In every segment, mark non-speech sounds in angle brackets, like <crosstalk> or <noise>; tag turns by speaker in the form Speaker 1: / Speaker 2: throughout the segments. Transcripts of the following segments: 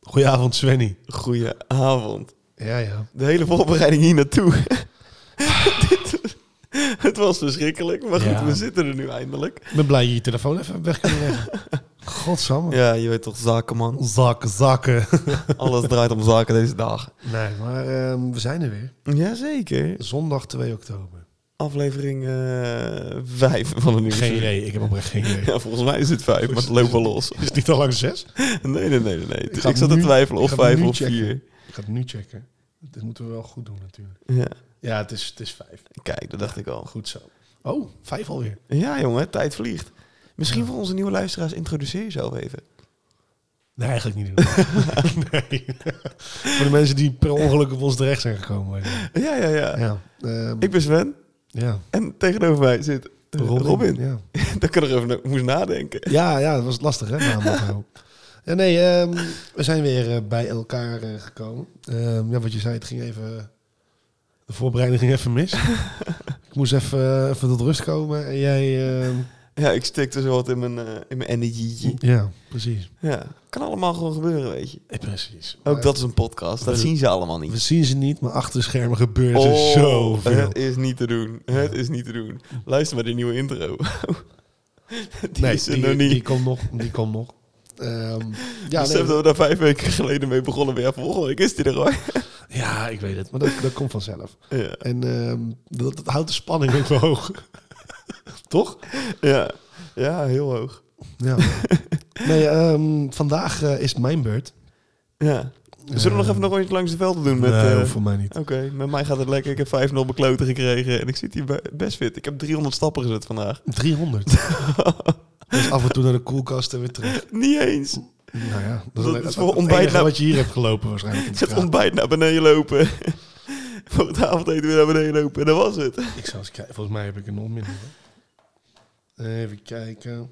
Speaker 1: Goedenavond, Svenny.
Speaker 2: Goedenavond.
Speaker 1: Ja, ja.
Speaker 2: De hele voorbereiding hier naartoe. <laughs> Dit- het was verschrikkelijk, maar goed,
Speaker 1: Ja.
Speaker 2: we zitten er nu eindelijk.
Speaker 1: Ik ben blij dat je je telefoon even weg kunnen leggen. <laughs> Godsamme.
Speaker 2: Ja, je weet toch, zaken man.
Speaker 1: Zakken, zakken.
Speaker 2: Alles draait om zaken deze dag.
Speaker 1: Nee, maar ehm, we zijn er weer.
Speaker 2: Jazeker.
Speaker 1: Zondag 2 oktober.
Speaker 2: Aflevering 5 van de nieuwe
Speaker 1: Geen
Speaker 2: serie.
Speaker 1: idee. Ik heb oprecht geen idee.
Speaker 2: Ja, volgens mij is het 5, maar het loopt wel los.
Speaker 1: Is het niet al lang zes?
Speaker 2: <laughs> Nee, nee, nee, nee. nee. Ik,
Speaker 1: ga
Speaker 2: zat te
Speaker 1: nu-
Speaker 2: twijfelen
Speaker 1: ik
Speaker 2: of
Speaker 1: ga het
Speaker 2: 5
Speaker 1: nu
Speaker 2: of
Speaker 1: checken.
Speaker 2: 4.
Speaker 1: Ik ga het nu checken. Dit moeten we wel goed doen natuurlijk.
Speaker 2: Ja.
Speaker 1: Ja, het is, het is vijf.
Speaker 2: Kijk, dat dacht ik al.
Speaker 1: Goed zo. Oh, vijf alweer.
Speaker 2: Ja, jongen, tijd vliegt. Misschien voor onze nieuwe luisteraars, introduceer jezelf even.
Speaker 1: Nee, eigenlijk <laughs> niet. nee. Voor de mensen die per ongeluk op ons terecht zijn gekomen. weet je.
Speaker 2: Ja, ja, ja.
Speaker 1: Ja. ehm,
Speaker 2: Ik ben Sven
Speaker 1: ja.
Speaker 2: en tegenover mij zit eh, Robin.
Speaker 1: Ja.
Speaker 2: <laughs> Daar kunnen we even na- moest nadenken.
Speaker 1: Ja, ja, dat was lastig, hè? namelijk wel. Ja, nee, ehm, we zijn weer eh, bij elkaar eh, gekomen. Ehm, ja, wat je zei, het ging even... De voorbereiding ging even
Speaker 2: <laughs>
Speaker 1: mis. ik moest even, eh, even tot rust komen. En jij... ehm,
Speaker 2: Ja, ik stikte zo wat in mijn, eh in mijn energietje.
Speaker 1: ja, precies.
Speaker 2: Ja, kan allemaal gewoon gebeuren, weet je.
Speaker 1: Eh, precies.
Speaker 2: Ook
Speaker 1: Maar
Speaker 2: dat is een podcast, dat
Speaker 1: We-
Speaker 2: zien ze allemaal
Speaker 1: We
Speaker 2: niet.
Speaker 1: zien ze niet, maar achter de schermen gebeurt er
Speaker 2: Oh,
Speaker 1: zoveel.
Speaker 2: het is niet te doen. Het is niet te doen. Luister maar de nieuwe intro. <laughs> die
Speaker 1: nee,
Speaker 2: is er
Speaker 1: die,
Speaker 2: nog niet.
Speaker 1: die komt nog. Die komt nog. Ehm, ja,
Speaker 2: Besef
Speaker 1: nee,
Speaker 2: dat we daar vijf weken geleden mee begonnen. Maar ja, volgende week is die er hoor.
Speaker 1: ja, ik weet het. Maar dat, dat komt vanzelf.
Speaker 2: <laughs> ja.
Speaker 1: En ehm, dat, dat houdt de spanning ook wel hoog. Toch?
Speaker 2: Ja. ja, heel hoog.
Speaker 1: Ja.
Speaker 2: <laughs>
Speaker 1: nee, ehm, vandaag eh, is het mijn beurt.
Speaker 2: Ja. Zullen we nog
Speaker 1: Eh,
Speaker 2: even nog eens langs de velden doen? Met,
Speaker 1: nee,
Speaker 2: eh,
Speaker 1: hoeft voor mij
Speaker 2: <laughs>
Speaker 1: niet.
Speaker 2: Oké, met mij gaat het lekker. Ik heb 5-0 bekloten gekregen en ik zit hier be- best fit. Ik heb 300 stappen gezet vandaag.
Speaker 1: 300. dus af en toe naar de koelkast en weer terug.
Speaker 2: Niet eens.
Speaker 1: Nou ja, dat,
Speaker 2: Dat
Speaker 1: is
Speaker 2: is
Speaker 1: het
Speaker 2: voor
Speaker 1: enige
Speaker 2: ontbijt nou-
Speaker 1: wat je hier hebt gelopen waarschijnlijk. in de
Speaker 2: Het
Speaker 1: straat.
Speaker 2: ontbijt naar beneden lopen. <laughs> Voor het avondeten weer naar beneden lopen. En dat was het.
Speaker 1: Ik zou eens kijken. Volgens mij heb ik een nog minder. hoor. Even kijken.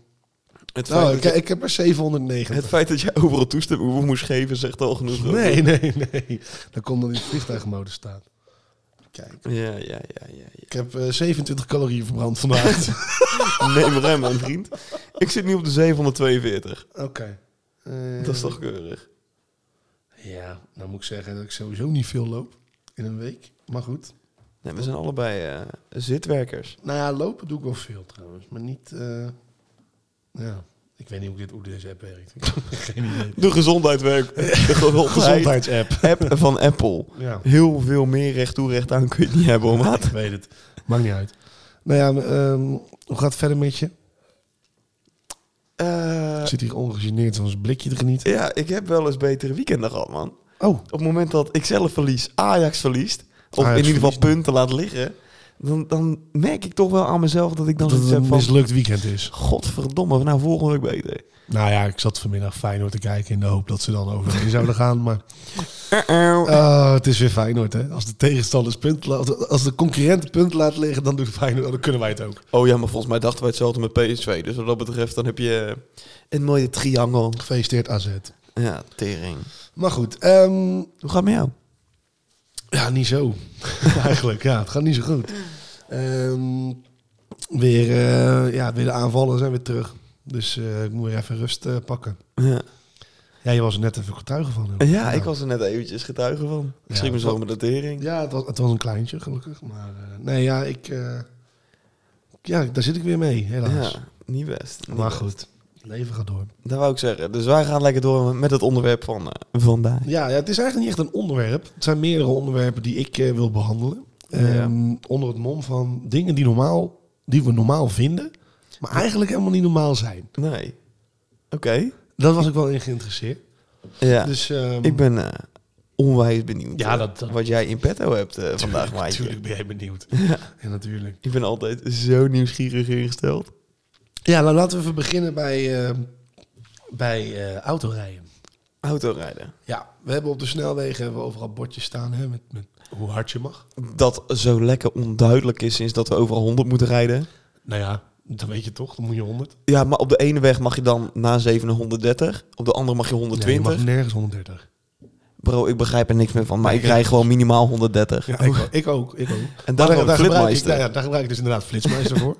Speaker 2: Het feit,
Speaker 1: Nou,
Speaker 2: dat,
Speaker 1: ik,
Speaker 2: je,
Speaker 1: ik heb er 790.
Speaker 2: het feit dat je overal toestemming voor moest geven, zegt al genoeg.
Speaker 1: Nee, nee, nee. Dat komt omdat die vliegtuigmodus staat. Kijk.
Speaker 2: Ja, ja, ja, ja. ja.
Speaker 1: Ik heb eh, 27 calorieën verbrand
Speaker 2: <laughs>
Speaker 1: vandaag.
Speaker 2: Neem ruim, mijn vriend. Ik zit nu op de 742.
Speaker 1: Oké. Eh,
Speaker 2: Dat is toch keurig?
Speaker 1: Ja, nou moet ik zeggen dat ik sowieso niet veel loop in een week. Maar goed.
Speaker 2: Nee, we zijn allebei eh, zitwerkers.
Speaker 1: Nou ja, lopen doe ik wel veel trouwens. Maar niet... eh, ja, ik weet niet hoe, dit, hoe deze app werkt. Ik heb Geen idee.
Speaker 2: De gezondheid
Speaker 1: <laughs>
Speaker 2: werkt. De gezondheid.
Speaker 1: Gezondheidsapp.
Speaker 2: App van Apple.
Speaker 1: Ja,
Speaker 2: Heel veel meer recht toe recht aan kun je niet hebben, hoor, maat.
Speaker 1: ik weet het. Maakt niet uit. Nou ja, ehm, hoe gaat het verder met je?
Speaker 2: Eh,
Speaker 1: Ik zit hier ongegeneerd van zijn blikje te genieten.
Speaker 2: ja, ik heb wel eens betere weekenden gehad, man.
Speaker 1: Oh,
Speaker 2: Op het moment dat ik zelf verlies, Ajax verliest... of
Speaker 1: Ajax
Speaker 2: in ieder geval
Speaker 1: verliest,
Speaker 2: punten laat liggen... Dan, dan merk ik toch wel aan mezelf dat ik dan
Speaker 1: dat
Speaker 2: zoiets
Speaker 1: het een
Speaker 2: heb van...
Speaker 1: mislukt weekend is.
Speaker 2: Godverdomme, nou volgende week beter.
Speaker 1: Nou ja, ik zat vanmiddag Feyenoord te kijken in de hoop dat ze dan overheen zouden gaan. Maar
Speaker 2: Uh-oh.
Speaker 1: Ah, het is weer Feyenoord, hè? Als de tegenstanders punt laat, als de concurrent punt laat liggen, dan doet Feyenoord, dan kunnen wij het ook.
Speaker 2: Oh ja, maar volgens mij dachten wij hetzelfde met PSV. Dus wat dat betreft, dan heb je eh, een mooie triangel.
Speaker 1: Gefeliciteerd AZ.
Speaker 2: Ja, tering.
Speaker 1: Maar goed, ehm,
Speaker 2: Hoe gaat het met jou?
Speaker 1: ja, niet <laughs> zo. Eigenlijk, ja, het gaat niet zo goed. Ehm, weer, eh, ja, weer de aanvallen zijn weer terug. Dus eh, ik moet weer even rust eh, pakken.
Speaker 2: Ja,
Speaker 1: Ja, je was er net even getuige van. hè? Nou.
Speaker 2: ja ik was er net eventjes getuige van. Ik
Speaker 1: Ja,
Speaker 2: schrik me zo
Speaker 1: dat-
Speaker 2: met de tering.
Speaker 1: Ja, het was, het was een kleintje, gelukkig. Maar eh, nee, ja, ik... eh, ja, daar zit ik weer mee, helaas.
Speaker 2: Ja, niet best. niet
Speaker 1: maar
Speaker 2: best.
Speaker 1: goed, het leven gaat door.
Speaker 2: Dat wou ik zeggen. Dus wij gaan lekker door met het onderwerp van eh, vandaag.
Speaker 1: Ja, ja, het is eigenlijk niet echt een onderwerp. Het zijn meerdere onderwerpen die ik eh, wil behandelen. Ehm, Onder het mom van dingen die, normaal, die we normaal vinden, maar eigenlijk helemaal niet normaal zijn.
Speaker 2: Nee. Oké.
Speaker 1: Dat was ik wel in geïnteresseerd.
Speaker 2: Ja.
Speaker 1: Dus, <laughs> ehm,
Speaker 2: ik ben eh, onwijs benieuwd
Speaker 1: Ja,
Speaker 2: eh,
Speaker 1: dat- dat-
Speaker 2: wat jij in petto hebt eh, vandaag,
Speaker 1: Tuurlijk,
Speaker 2: Maaike.
Speaker 1: tuurlijk ben jij benieuwd. Ja, natuurlijk.
Speaker 2: Ik ben altijd zo nieuwsgierig ingesteld.
Speaker 1: Ja, nou, laten we even beginnen bij, ehm, bij eh, autorijden.
Speaker 2: Autorijden.
Speaker 1: Ja, we hebben op de snelwegen hebben we overal bordjes staan hè, met, met hoe hard je mag.
Speaker 2: Dat zo lekker onduidelijk is sinds dat we overal 100 moeten rijden.
Speaker 1: Nou ja, dat weet je toch, dan moet je 100.
Speaker 2: Ja, maar op de ene weg mag je dan na 7 naar 130. Op de andere mag je
Speaker 1: Nee, je
Speaker 2: 120.
Speaker 1: mag nergens 130.
Speaker 2: Bro, ik begrijp er niks meer van. Maar
Speaker 1: Nee,
Speaker 2: ik rij gewoon minimaal 130.
Speaker 1: Ja, ik, ik ook, ik ook. Maar
Speaker 2: En daar gewoon
Speaker 1: gebruik ik,
Speaker 2: flipmeister.
Speaker 1: nou ja, daar gebruik ik dus inderdaad flitsmeister
Speaker 2: <laughs>
Speaker 1: voor.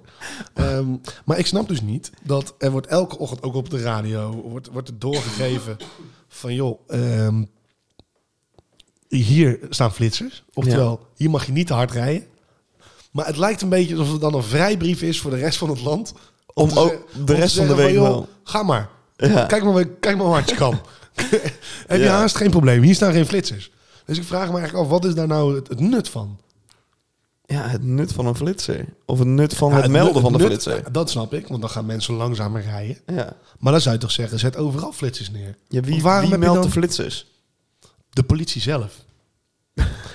Speaker 1: Ehm, maar ik snap dus niet dat er wordt elke ochtend ook op de radio wordt, wordt er doorgegeven van joh, ehm, hier staan flitsers. Oftewel, hier mag je niet te hard rijden. Maar het lijkt een beetje alsof het dan een vrijbrief is voor de rest van het land.
Speaker 2: Om
Speaker 1: te
Speaker 2: ook
Speaker 1: ze-
Speaker 2: de
Speaker 1: om te
Speaker 2: rest van de
Speaker 1: zeggen
Speaker 2: week
Speaker 1: joh,
Speaker 2: wel.
Speaker 1: Ga maar.
Speaker 2: Ja.
Speaker 1: Kijk, maar, kijk maar hoe hard je
Speaker 2: <laughs>
Speaker 1: kan. Heb je
Speaker 2: Ja.
Speaker 1: haast geen probleem. Hier staan geen flitsers. Dus ik vraag me eigenlijk af, wat is daar nou het, het nut van?
Speaker 2: Ja, het nut van een flitser. Of het nut van
Speaker 1: Ja,
Speaker 2: het, melden
Speaker 1: nut-
Speaker 2: van de
Speaker 1: nut-
Speaker 2: flitser.
Speaker 1: Dat snap ik, want dan gaan mensen langzamer rijden.
Speaker 2: Ja.
Speaker 1: Maar dan zou je toch zeggen, zet overal flitsers neer.
Speaker 2: Ja, wie,
Speaker 1: Want waarom
Speaker 2: wie
Speaker 1: heb je
Speaker 2: meldt
Speaker 1: dan-
Speaker 2: de flitsers?
Speaker 1: De politie
Speaker 2: <laughs>
Speaker 1: zelf.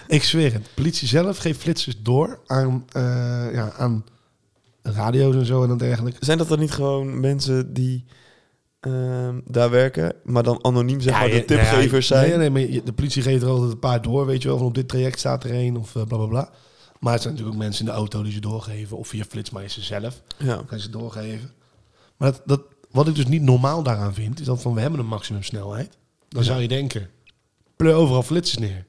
Speaker 1: ik zweer het. De politie zelf geeft flitsers door aan, eh, ja, aan radio's en zo en dat dergelijke.
Speaker 2: Zijn dat dan niet gewoon mensen die ehm, daar werken, maar dan anoniem zeg maar de tipgevers zijn?
Speaker 1: nou Nee, nee, maar je- de politie geeft er altijd een paar door, weet je wel. Van op dit traject staat er een of eh, bla bla bla. Maar het zijn natuurlijk ook mensen in de auto die ze doorgeven. Of via flitsmeester zelf
Speaker 2: Ja.
Speaker 1: kan je ze doorgeven. Maar dat, dat, wat ik dus niet normaal daaraan vind, is dat van we hebben een maximumsnelheid. Dan zou je denken, pleur overal flitsers neer.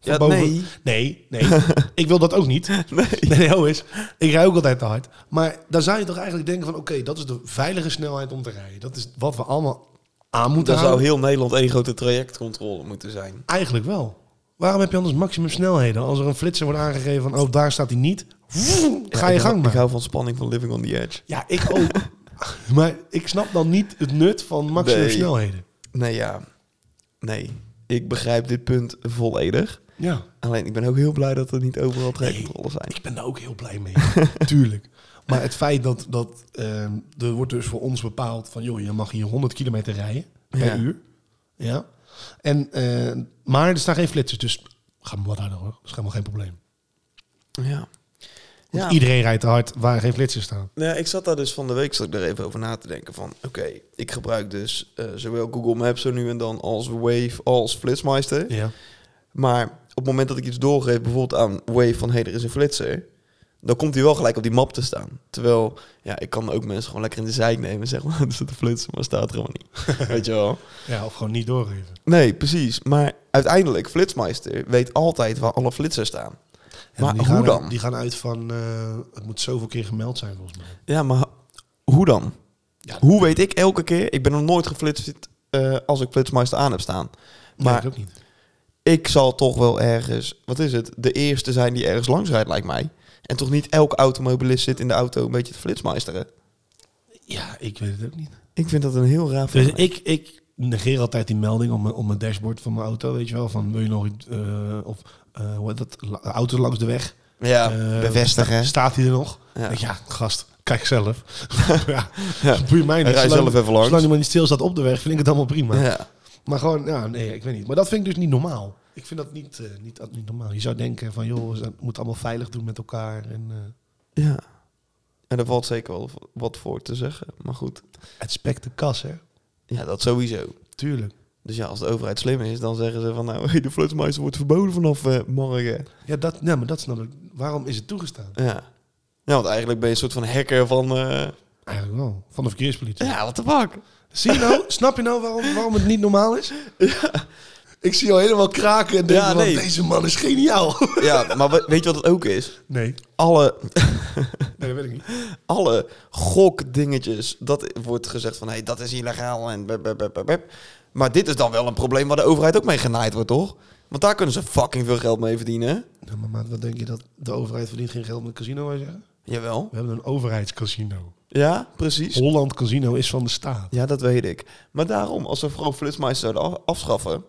Speaker 1: Van
Speaker 2: Ja,
Speaker 1: boven-
Speaker 2: nee.
Speaker 1: Nee, nee.
Speaker 2: <laughs>
Speaker 1: ik wil dat ook niet.
Speaker 2: Nee.
Speaker 1: Nee, nee, ho eens. Ik rij ook altijd te hard. Maar dan zou je toch eigenlijk denken van... oké, dat is de veilige snelheid om te rijden. Dat is wat we allemaal aan moeten
Speaker 2: Dan zou
Speaker 1: houden.
Speaker 2: heel Nederland één grote trajectcontrole moeten zijn.
Speaker 1: Eigenlijk wel. Waarom heb je anders maximum snelheden? Als er een flitser wordt aangegeven van... oh, daar staat hij niet. Vroom,
Speaker 2: Ja,
Speaker 1: ga je
Speaker 2: ik hou-
Speaker 1: gang maar.
Speaker 2: Ik hou van spanning van Living on the Edge.
Speaker 1: Ja, ik ook. <laughs> maar ik snap dan niet het nut van maximum
Speaker 2: Nee.
Speaker 1: snelheden.
Speaker 2: Nee, ja. Nee. Ik begrijp dit punt volledig.
Speaker 1: Ja.
Speaker 2: Alleen, ik ben ook heel blij dat er niet overal trajectcontroles zijn.
Speaker 1: Ik ben daar ook heel blij mee. <laughs> Tuurlijk. Maar het feit dat, dat ehm, er wordt dus voor ons bepaald van... joh, je mag hier 100 kilometer rijden per
Speaker 2: Ja.
Speaker 1: uur. Ja. En, eh, maar er staan geen flitsers, dus ga maar wat harder hoor. Dat is helemaal geen probleem.
Speaker 2: Ja.
Speaker 1: Want
Speaker 2: Ja.
Speaker 1: iedereen rijdt te hard waar geen flitsers staan.
Speaker 2: Nou, ja, ik zat daar dus van de week zat ik daar even over na te denken van... Oké, ik gebruik dus eh, zowel Google Maps zo nu en dan als Wave als Flitsmeister.
Speaker 1: Ja.
Speaker 2: Maar op het moment dat ik iets doorgeef, bijvoorbeeld aan Wave van hey, er is een flitser, dan komt hij wel gelijk op die map te staan. Terwijl, ja, ik kan ook mensen gewoon lekker in de zijk nemen en zeggen, maar, <laughs> er zit een flitser, maar staat er gewoon niet.
Speaker 1: <laughs>
Speaker 2: Weet je wel?
Speaker 1: ja, of gewoon niet doorgeven.
Speaker 2: Nee, precies. Maar uiteindelijk, Flitsmeister weet altijd waar alle flitsers staan.
Speaker 1: En
Speaker 2: Maar
Speaker 1: die
Speaker 2: hoe
Speaker 1: gaan-
Speaker 2: dan?
Speaker 1: Die gaan uit van, eh, het moet zoveel keer gemeld zijn volgens mij.
Speaker 2: Ja, maar hoe dan?
Speaker 1: Ja,
Speaker 2: Hoe weet ik elke keer? Ik ben nog nooit geflitst eh, als ik Flitsmeister aan heb staan.
Speaker 1: Maar
Speaker 2: Maar
Speaker 1: ik ook niet.
Speaker 2: ik zal toch wel ergens, wat is het, de eerste zijn die ergens langs rijdt, lijkt mij. En toch niet elke automobilist zit in de auto een beetje te flitsmeisteren.
Speaker 1: Ja, ik weet het ook niet.
Speaker 2: Ik vind dat een heel raar
Speaker 1: Dus
Speaker 2: fenomeen.
Speaker 1: ik, ik negeer altijd die melding op mijn, op mijn dashboard van mijn auto, weet je wel. Van wil je nog iets, eh, of eh, hoe heet dat, La- auto langs de weg.
Speaker 2: Ja,
Speaker 1: Eh,
Speaker 2: bevestigen.
Speaker 1: Staat hij er nog?
Speaker 2: Ja.
Speaker 1: Ja, gast, kijk zelf. <laughs> ja,
Speaker 2: Ja.
Speaker 1: boeit mij niet.
Speaker 2: Rij
Speaker 1: Zolang-
Speaker 2: zelf even langs.
Speaker 1: Zolang hij maar niet stil staat op de weg, vind ik het allemaal prima.
Speaker 2: Ja.
Speaker 1: Maar gewoon, ja, nee, ik weet niet. Maar dat vind ik dus niet normaal. Ik vind dat niet, eh, niet, niet normaal. Je zou denken van, joh, we moeten allemaal veilig doen met elkaar. En, eh,
Speaker 2: ja. En daar valt zeker wel v- wat voor te zeggen. Maar goed,
Speaker 1: het spek de kas, hè.
Speaker 2: ja, dat sowieso.
Speaker 1: Tuurlijk.
Speaker 2: Dus ja, als de overheid slim is, dan zeggen ze van... nou, <laughs> hey, de flitsmeister wordt verboden vanaf eh, morgen.
Speaker 1: Ja, dat, nee, maar dat snap ik. Waarom is het toegestaan?
Speaker 2: Ja. ja, want eigenlijk ben je een soort van hacker van... eh,
Speaker 1: Eigenlijk wel. Van de verkeerspolitie.
Speaker 2: ja, wat de fuck?
Speaker 1: Zie je <laughs> nou, snap je nou waarom, waarom het niet normaal is? Ik zie jou helemaal kraken en denk
Speaker 2: Ja,
Speaker 1: van,
Speaker 2: nee.
Speaker 1: deze man is geniaal.
Speaker 2: Ja, maar we- weet je wat het ook is?
Speaker 1: <laughs> Nee,
Speaker 2: Alle
Speaker 1: nee dat weet ik niet.
Speaker 2: alle gokdingetjes, dat wordt gezegd van hé, hey, dat is illegaal en bep, bep, bep, bep, bep. Maar dit is dan wel een probleem waar de overheid ook mee genaaid wordt, toch? Want daar kunnen ze fucking veel geld mee verdienen.
Speaker 1: Nou, maar maat, wat denk je dat de overheid verdient geen geld met casino, wij zeggen?
Speaker 2: Jawel.
Speaker 1: We hebben een overheidscasino.
Speaker 2: Ja, precies.
Speaker 1: Holland Casino is van de staat.
Speaker 2: Ja, dat weet ik. Maar daarom, als we vooral Flitsmeister zouden af- afschaffen,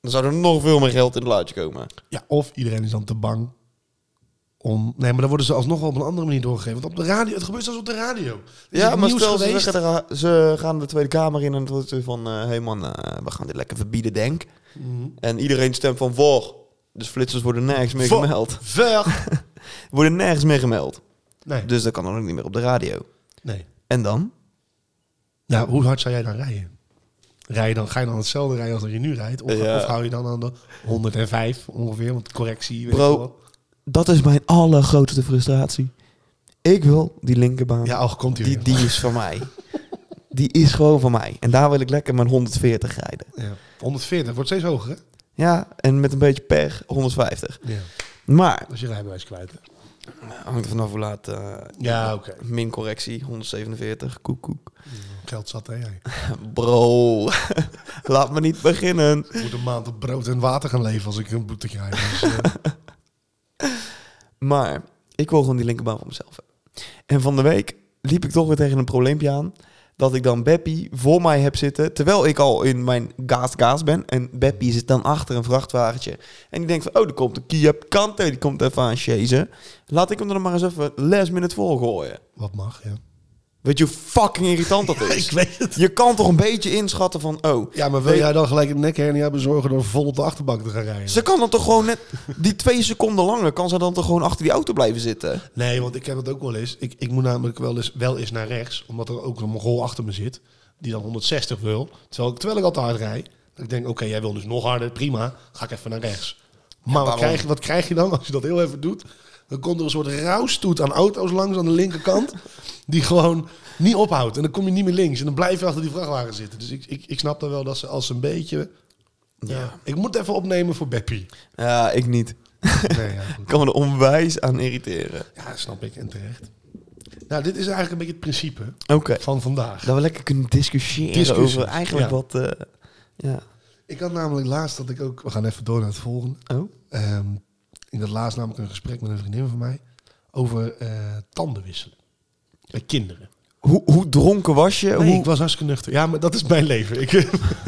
Speaker 2: dan zou er nog veel meer geld in het laadje komen.
Speaker 1: Ja, of iedereen is dan te bang om... Nee, maar dan worden ze alsnog wel op een andere manier doorgegeven. Want op de radio, het gebeurt zelfs op de radio. Er is
Speaker 2: Ja,
Speaker 1: het
Speaker 2: maar
Speaker 1: nieuws
Speaker 2: stel ze,
Speaker 1: geweest.
Speaker 2: zeggen, er- eh, ze gaan de Tweede Kamer in en het wordt weer van, eh, hey man, eh, we gaan dit lekker verbieden, denk.
Speaker 1: Mhm.
Speaker 2: En iedereen stemt van voor. Dus flitsers worden nergens meer
Speaker 1: Voor.
Speaker 2: gemeld.
Speaker 1: Ver!
Speaker 2: Worden nergens meer gemeld.
Speaker 1: Nee,
Speaker 2: Dus dat kan dan ook niet meer op de radio.
Speaker 1: nee.
Speaker 2: En dan?
Speaker 1: Nou, hoe hard zou jij dan rijden? Rij je dan, ga je dan hetzelfde rijden als dat je nu rijdt? Of,
Speaker 2: Ja.
Speaker 1: of hou je dan aan de 105 ongeveer? Want correctie, weet
Speaker 2: Bro.
Speaker 1: je wel.
Speaker 2: Dat is mijn allergrootste frustratie. Ik wil die linkerbaan.
Speaker 1: Ja, al komt hij
Speaker 2: die, die
Speaker 1: <laughs>
Speaker 2: is van mij. Die is gewoon van mij. En daar wil ik lekker mijn 140 rijden.
Speaker 1: Ja. 140, wordt steeds hoger, hè?
Speaker 2: Ja, en met een beetje pech 150.
Speaker 1: Ja.
Speaker 2: Maar,
Speaker 1: Als je rijbewijs kwijt hebt.
Speaker 2: hangt er vanaf hoe laat... eh,
Speaker 1: Ja, oké.
Speaker 2: Min correctie, 147, koek koek.
Speaker 1: Geld zat, hè, jij?
Speaker 2: Bro, <laughs> Laat me niet beginnen.
Speaker 1: Ik moet een maand op brood en water gaan leven als ik een boete krijg.
Speaker 2: <laughs>
Speaker 1: Dus, eh,
Speaker 2: Maar ik wil gewoon die linkerbaan voor mezelf hebben. En van de week liep ik toch weer tegen een probleempje aan. Dat ik dan Beppie voor mij heb zitten. Terwijl ik al in mijn gaas-gaas ben. En Beppie zit dan achter een vrachtwagentje. En die denkt van, oh, er komt een Kia Picanto. Die komt even aan chasen. Laat ik hem er dan maar eens even last minute voor gooien.
Speaker 1: wat mag, ja.
Speaker 2: Weet je hoe fucking
Speaker 1: <laughs>
Speaker 2: irritant dat is?
Speaker 1: weet het.
Speaker 2: <laughs> Je kan toch een beetje inschatten van, oh...
Speaker 1: Ja, maar wil
Speaker 2: weet-
Speaker 1: jij dan gelijk een nekhernia bezorgen door vol op de achterbank te gaan rijden?
Speaker 2: Ze kan dan toch gewoon net... Die twee seconden langer kan ze dan toch gewoon achter die auto blijven zitten?
Speaker 1: Nee, want ik heb het ook wel eens. Ik, ik moet namelijk wel eens, wel eens naar rechts, omdat er ook een Mongool achter me zit, die dan 160 wil. Terwijl ik, terwijl ik al te hard rijd, dat ik denk, oké, jij wil dus nog harder, prima, ga ik even naar rechts. Maar wat
Speaker 2: waarom?
Speaker 1: krijg, je- wat krijg je dan als je dat heel even doet? Dan komt er een soort rouwstoet aan auto's langs aan de <laughs> linkerkant, die gewoon niet ophoudt. En dan kom je niet meer links en dan blijf je achter die vrachtwagen zitten. Dus ik, ik, ik snap dan wel dat ze als ze een beetje... Ja. Ik moet even opnemen voor Beppie.
Speaker 2: Ja, ik niet.
Speaker 1: <laughs> Nee, ja, goed.
Speaker 2: Ik kan me er onwijs aan irriteren.
Speaker 1: Ja, snap ik. En terecht. Nou, dit is eigenlijk een beetje het principe
Speaker 2: Oké.
Speaker 1: van vandaag.
Speaker 2: Dat we lekker kunnen discussiëren
Speaker 1: Discussies,
Speaker 2: over eigenlijk
Speaker 1: ja.
Speaker 2: wat... eh, ja.
Speaker 1: Ik had namelijk laatst dat ik ook... We gaan even door naar het volgende.
Speaker 2: Oh?
Speaker 1: Ehm, ik had laatst namelijk een gesprek met een vriendin van mij... over eh, tanden wisselen. Bij kinderen.
Speaker 2: Hoe, hoe dronken was je?
Speaker 1: Nee,
Speaker 2: Eh, hoe,
Speaker 1: ik was hartstikke nuchter. Ja, maar dat is mijn leven. Ik,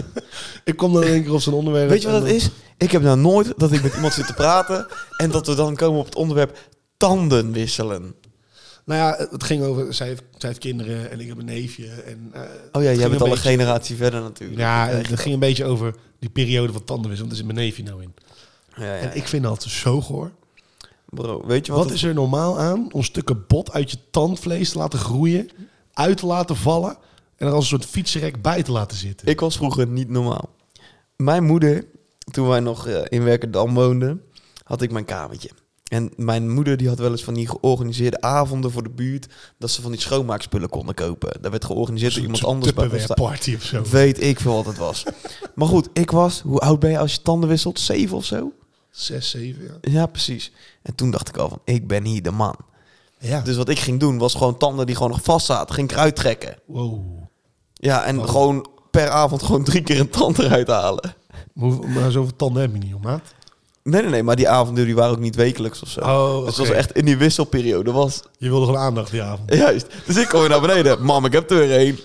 Speaker 1: <laughs> ik kom dan in één keer op zo'n onderwerp.
Speaker 2: Weet je wat
Speaker 1: en
Speaker 2: dat
Speaker 1: dan-
Speaker 2: is? Ik heb nou nooit dat ik met iemand zit te praten... en dat we dan komen op het onderwerp tanden wisselen.
Speaker 1: Nou ja, het ging over... Zij heeft, zij heeft kinderen en ik heb een neefje. En, eh, het
Speaker 2: Oh ja,
Speaker 1: ging
Speaker 2: jij bent
Speaker 1: een
Speaker 2: al een
Speaker 1: beetje-
Speaker 2: generatie verder natuurlijk.
Speaker 1: Ja, het ging een beetje over die periode van tanden wisselen. Want er zit mijn neefje nou in.
Speaker 2: Ja, ja.
Speaker 1: En ik vind dat zo goor.
Speaker 2: Bro, weet je wat,
Speaker 1: Wat
Speaker 2: het-
Speaker 1: is er normaal aan om stukken bot uit je tandvlees te laten groeien, uit te laten vallen en er als een soort fietsenrek bij te laten zitten?
Speaker 2: Ik was vroeger niet normaal. Mijn moeder, toen wij nog eh, in Werkendam woonden, had ik mijn kamertje. En mijn moeder die had wel eens van die georganiseerde avonden voor de buurt... dat ze van die schoonmaakspullen konden kopen. Daar werd georganiseerd door
Speaker 1: Zo'n-
Speaker 2: iemand
Speaker 1: zo'n
Speaker 2: anders bij ons.
Speaker 1: Tupperware party of zo.
Speaker 2: Weet ik veel wat het was. <laughs> maar goed, ik was... Hoe oud ben je als je tanden wisselt? Zeven of zo?
Speaker 1: Zes, zeven, ja.
Speaker 2: Ja, precies. En toen dacht ik al van, ik ben hier de man.
Speaker 1: ja.
Speaker 2: Dus wat ik ging doen, was gewoon tanden die gewoon nog vast zaten. Ging ik eruit trekken.
Speaker 1: wow.
Speaker 2: Ja, en
Speaker 1: Oh.
Speaker 2: gewoon per avond gewoon drie keer een tand eruit halen.
Speaker 1: Maar, hoeveel- maar zoveel tanden heb je niet, hoor, maat.
Speaker 2: Nee, nee, nee, maar die avonden die waren ook niet wekelijks of zo.
Speaker 1: Oh,
Speaker 2: Dus het
Speaker 1: oké.
Speaker 2: was echt in die wisselperiode was.
Speaker 1: Je wilde gewoon aandacht die avond.
Speaker 2: Juist. Dus ik kom weer naar beneden. Mam, ik heb er weer één.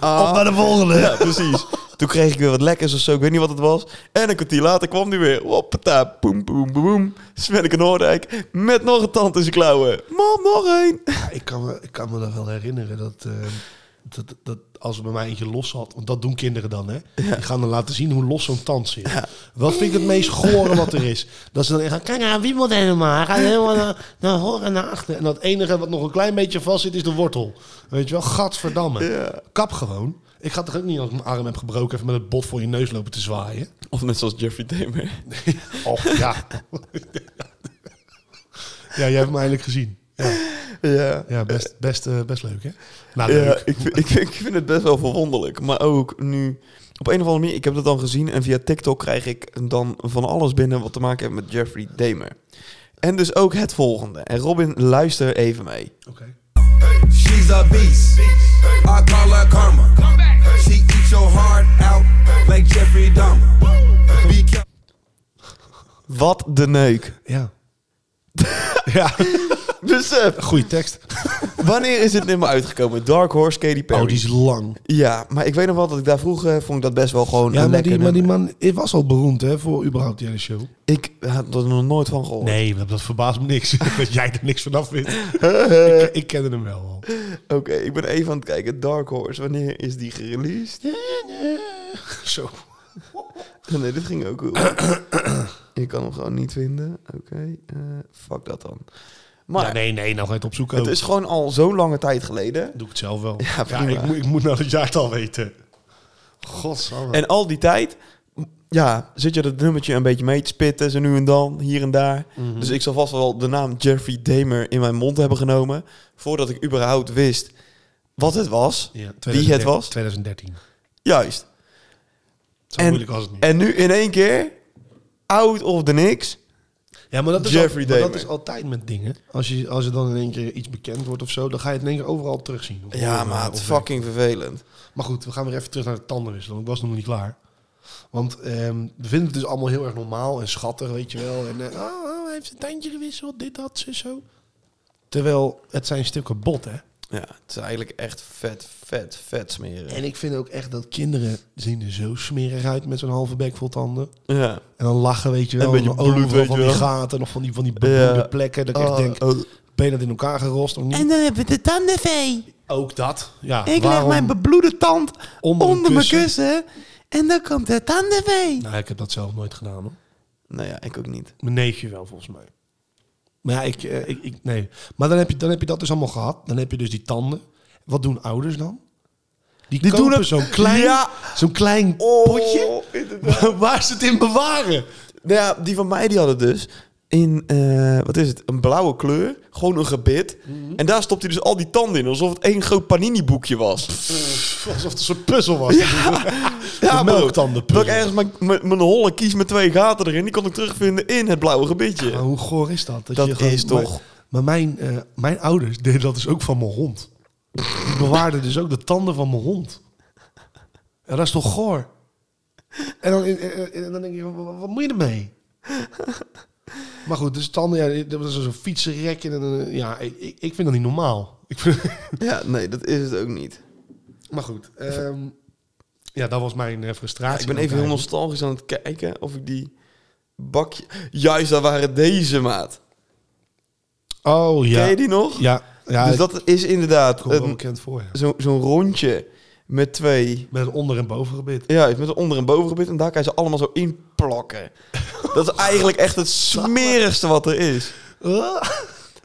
Speaker 1: Op naar de volgende.
Speaker 2: Ah. Ja, precies. Toen kreeg ik weer wat lekkers of zo, ik weet niet wat het was. En een kwartier later kwam die weer. Hoppata, poem, poem, poem, poem. Svenneke Noordijk met nog een tand in zijn klauwen. Mam, nog één.
Speaker 1: Ja, ik, kan me, ik kan me nog wel herinneren dat, eh, dat, dat als er bij mij eentje los had, want dat doen kinderen dan, hè? Die gaan dan laten zien hoe los zo'n tand zit. Wat vind ik het meest gore wat er is? Dat ze dan echt gaan, kijk naar wie moet helemaal, hij gaat helemaal naar, naar horen en naar achter. En dat enige wat nog een klein beetje vast zit, is de wortel. Weet je wel, gadverdamme.
Speaker 2: Ja.
Speaker 1: Kap gewoon. Ik ga toch ook niet als ik mijn arm heb gebroken even met het bot voor je neus lopen te zwaaien.
Speaker 2: Of net zoals Jeffrey Dahmer.
Speaker 1: Och,
Speaker 2: <laughs>
Speaker 1: ja. ja, jij hebt me eindelijk gezien. Ja.
Speaker 2: Ja.
Speaker 1: Ja, best, best, eh, best leuk, hè? Nou,
Speaker 2: Ja,
Speaker 1: leuk.
Speaker 2: ik, vind- ik, vind- ik vind het best wel verwonderlijk. Maar ook nu, op een of andere manier, ik heb dat dan gezien en via TikTok krijg ik dan van alles binnen wat te maken heeft met Jeffrey Dahmer. En dus ook het volgende. En Robin, luister even mee.
Speaker 1: Oké.
Speaker 3: She's a beast. I call her karma. She eats your heart out like Jeffrey Dahmer. Be careful.
Speaker 2: Wat de neuk.
Speaker 1: Ja. <laughs> ja,
Speaker 2: Besef,
Speaker 1: goede tekst.
Speaker 2: wanneer is dit nummer uitgekomen? Dark Horse, Katy Perry.
Speaker 1: Oh, die is lang.
Speaker 2: Ja, maar ik weet nog wel dat ik daar vroeger eh, vond ik dat best wel gewoon
Speaker 1: Ja,
Speaker 2: een
Speaker 1: maar
Speaker 2: lekker
Speaker 1: die, maar die
Speaker 2: nummer.
Speaker 1: man hij was al beroemd, hè, voor überhaupt die hele show.
Speaker 2: Ik had er nog nooit van gehoord.
Speaker 1: Nee, dat, dat verbaast me niks. <laughs> dat jij er niks vanaf vindt. <laughs> ik, ik kende hem wel al.
Speaker 2: Oké, ik ben even aan het kijken. Dark Horse, wanneer is die gereleased?
Speaker 1: <laughs> Zo.
Speaker 2: <laughs> Nee, dit
Speaker 1: <clears throat>
Speaker 2: ging ook goed. Ik kan hem gewoon niet vinden. Oké, eh, fuck dat dan. Maar
Speaker 1: Ja, nee, nee, nou ga je het opzoeken.
Speaker 2: het
Speaker 1: ook.
Speaker 2: is gewoon al zo lange tijd geleden.
Speaker 1: Doe ik het zelf wel. Ja,
Speaker 2: prima.
Speaker 1: ik, moet, ik moet nou het jaartal weten. Godsamme.
Speaker 2: En al die tijd, m- ja, zit je dat nummertje een beetje mee te spitten, zo nu en dan, hier en daar.
Speaker 1: Mhm.
Speaker 2: Dus ik zal vast wel de naam Jeffrey Dahmer in mijn mond hebben genomen, voordat ik überhaupt wist wat het was,
Speaker 1: Ja,
Speaker 2: wie het
Speaker 1: 2013
Speaker 2: was.
Speaker 1: 2013.
Speaker 2: Juist.
Speaker 1: Zo
Speaker 2: En-
Speaker 1: moeilijk was het niet.
Speaker 2: En nu in één keer, oud of de niks,
Speaker 1: Ja, maar dat is,
Speaker 2: Jeffrey
Speaker 1: al- maar dat
Speaker 2: Dahmer.
Speaker 1: is altijd met dingen. Als je, als er dan in één keer iets bekend wordt of zo, dan ga je het in één keer overal terugzien. Of
Speaker 2: Ja,
Speaker 1: horen
Speaker 2: maat.
Speaker 1: of-
Speaker 2: Fucking vervelend.
Speaker 1: Maar goed, we gaan weer even terug naar de tandenwissel, want ik was nog niet klaar. Want ehm, we vinden het dus allemaal heel erg normaal en schattig, weet je wel. En eh, oh, oh, hij heeft zijn tandje gewisseld, dit, dat, zo, zo. Terwijl het zijn stukken bot, hè.
Speaker 2: Ja, het is eigenlijk echt vet, vet, vet smeren.
Speaker 1: En ik vind ook echt dat kinderen zien er zo smerig uit met zo'n halve bek vol tanden.
Speaker 2: Ja.
Speaker 1: En dan lachen, weet je wel.
Speaker 2: Een beetje
Speaker 1: en dan overal
Speaker 2: bloed, weet
Speaker 1: van
Speaker 2: je
Speaker 1: die
Speaker 2: wel.
Speaker 1: gaten, nog van die, van die bebloede
Speaker 2: Ja.
Speaker 1: plekken. Dat ik echt denk,
Speaker 2: Oh,
Speaker 1: ben je dat in elkaar gerost of niet?
Speaker 2: En dan hebben we de tandenvee.
Speaker 1: ook dat. Ja,
Speaker 2: Ik leg
Speaker 1: waarom
Speaker 2: mijn bebloede tand
Speaker 1: onder,
Speaker 2: onder,
Speaker 1: een
Speaker 2: mijn kussen. En dan komt de tandenvee.
Speaker 1: Nou, ik heb dat zelf nooit gedaan, hoor.
Speaker 2: Nou ja, ik ook niet.
Speaker 1: Mijn neefje wel, volgens mij. Maar ja, ik, eh, ik, ik nee. Maar dan heb, je, dan heb je dat dus allemaal gehad. Dan heb je dus die tanden. Wat doen ouders dan? Die,
Speaker 2: Die
Speaker 1: kopen
Speaker 2: doen het-
Speaker 1: zo'n klein,
Speaker 2: Ja.
Speaker 1: zo'n klein potje.
Speaker 2: Oh, inderdaad.
Speaker 1: <laughs> Waar ze het in bewaren.
Speaker 2: Nou ja, die van mij die hadden dus in, eh, wat is het, een blauwe kleur, gewoon een gebit. En daar stopte hij dus al die tanden in, alsof het één groot panini-boekje was.
Speaker 1: Alsof het een soort puzzel was.
Speaker 2: Ja, bro.
Speaker 1: melktandenpuzzel.
Speaker 2: Dat ik ergens mijn- mijn mijn holle kies met twee gaten erin, die kon ik terugvinden in het blauwe gebitje.
Speaker 1: Maar hoe goor is dat?
Speaker 2: Dat
Speaker 1: je gewoon-
Speaker 2: is
Speaker 1: maar-
Speaker 2: toch-
Speaker 1: Maar, mijn, eh, mijn ouders deden dat dus ook van mijn hond. Die bewaarden dus ook de tanden van mijn hond. Ja, dat is toch goor? En dan, eh, eh, eh, dan denk je, wa- wa- wat, moet je ermee? Maar goed, dus tanden, ja, dat was zo'n fietsenrek. En, dan, eh, ja, ik, ik ik vind dat niet normaal. Ik vind, <laughs>
Speaker 2: Ja, nee, dat is het ook niet.
Speaker 1: maar goed, ehm, ja, dat was mijn eh, frustratie.
Speaker 2: ik ben even heel
Speaker 1: Eigenlijk.
Speaker 2: nostalgisch aan het kijken of ik die bakje... Juist, dat waren deze, maat.
Speaker 1: Oh, ja.
Speaker 2: Ken je die nog?
Speaker 1: Ja, ja
Speaker 2: dus
Speaker 1: ik
Speaker 2: dat eh, is inderdaad
Speaker 1: kom er wel
Speaker 2: een-
Speaker 1: bekend voor. ja.
Speaker 2: zo- zo'n rondje met twee...
Speaker 1: Met een onder- en bovengebit.
Speaker 2: Ja, hij heeft met een onder- en bovengebit. En daar kan je ze allemaal zo in
Speaker 1: <laughs>
Speaker 2: plakken. Dat is eigenlijk echt het smerigste wat er is.
Speaker 1: Ah!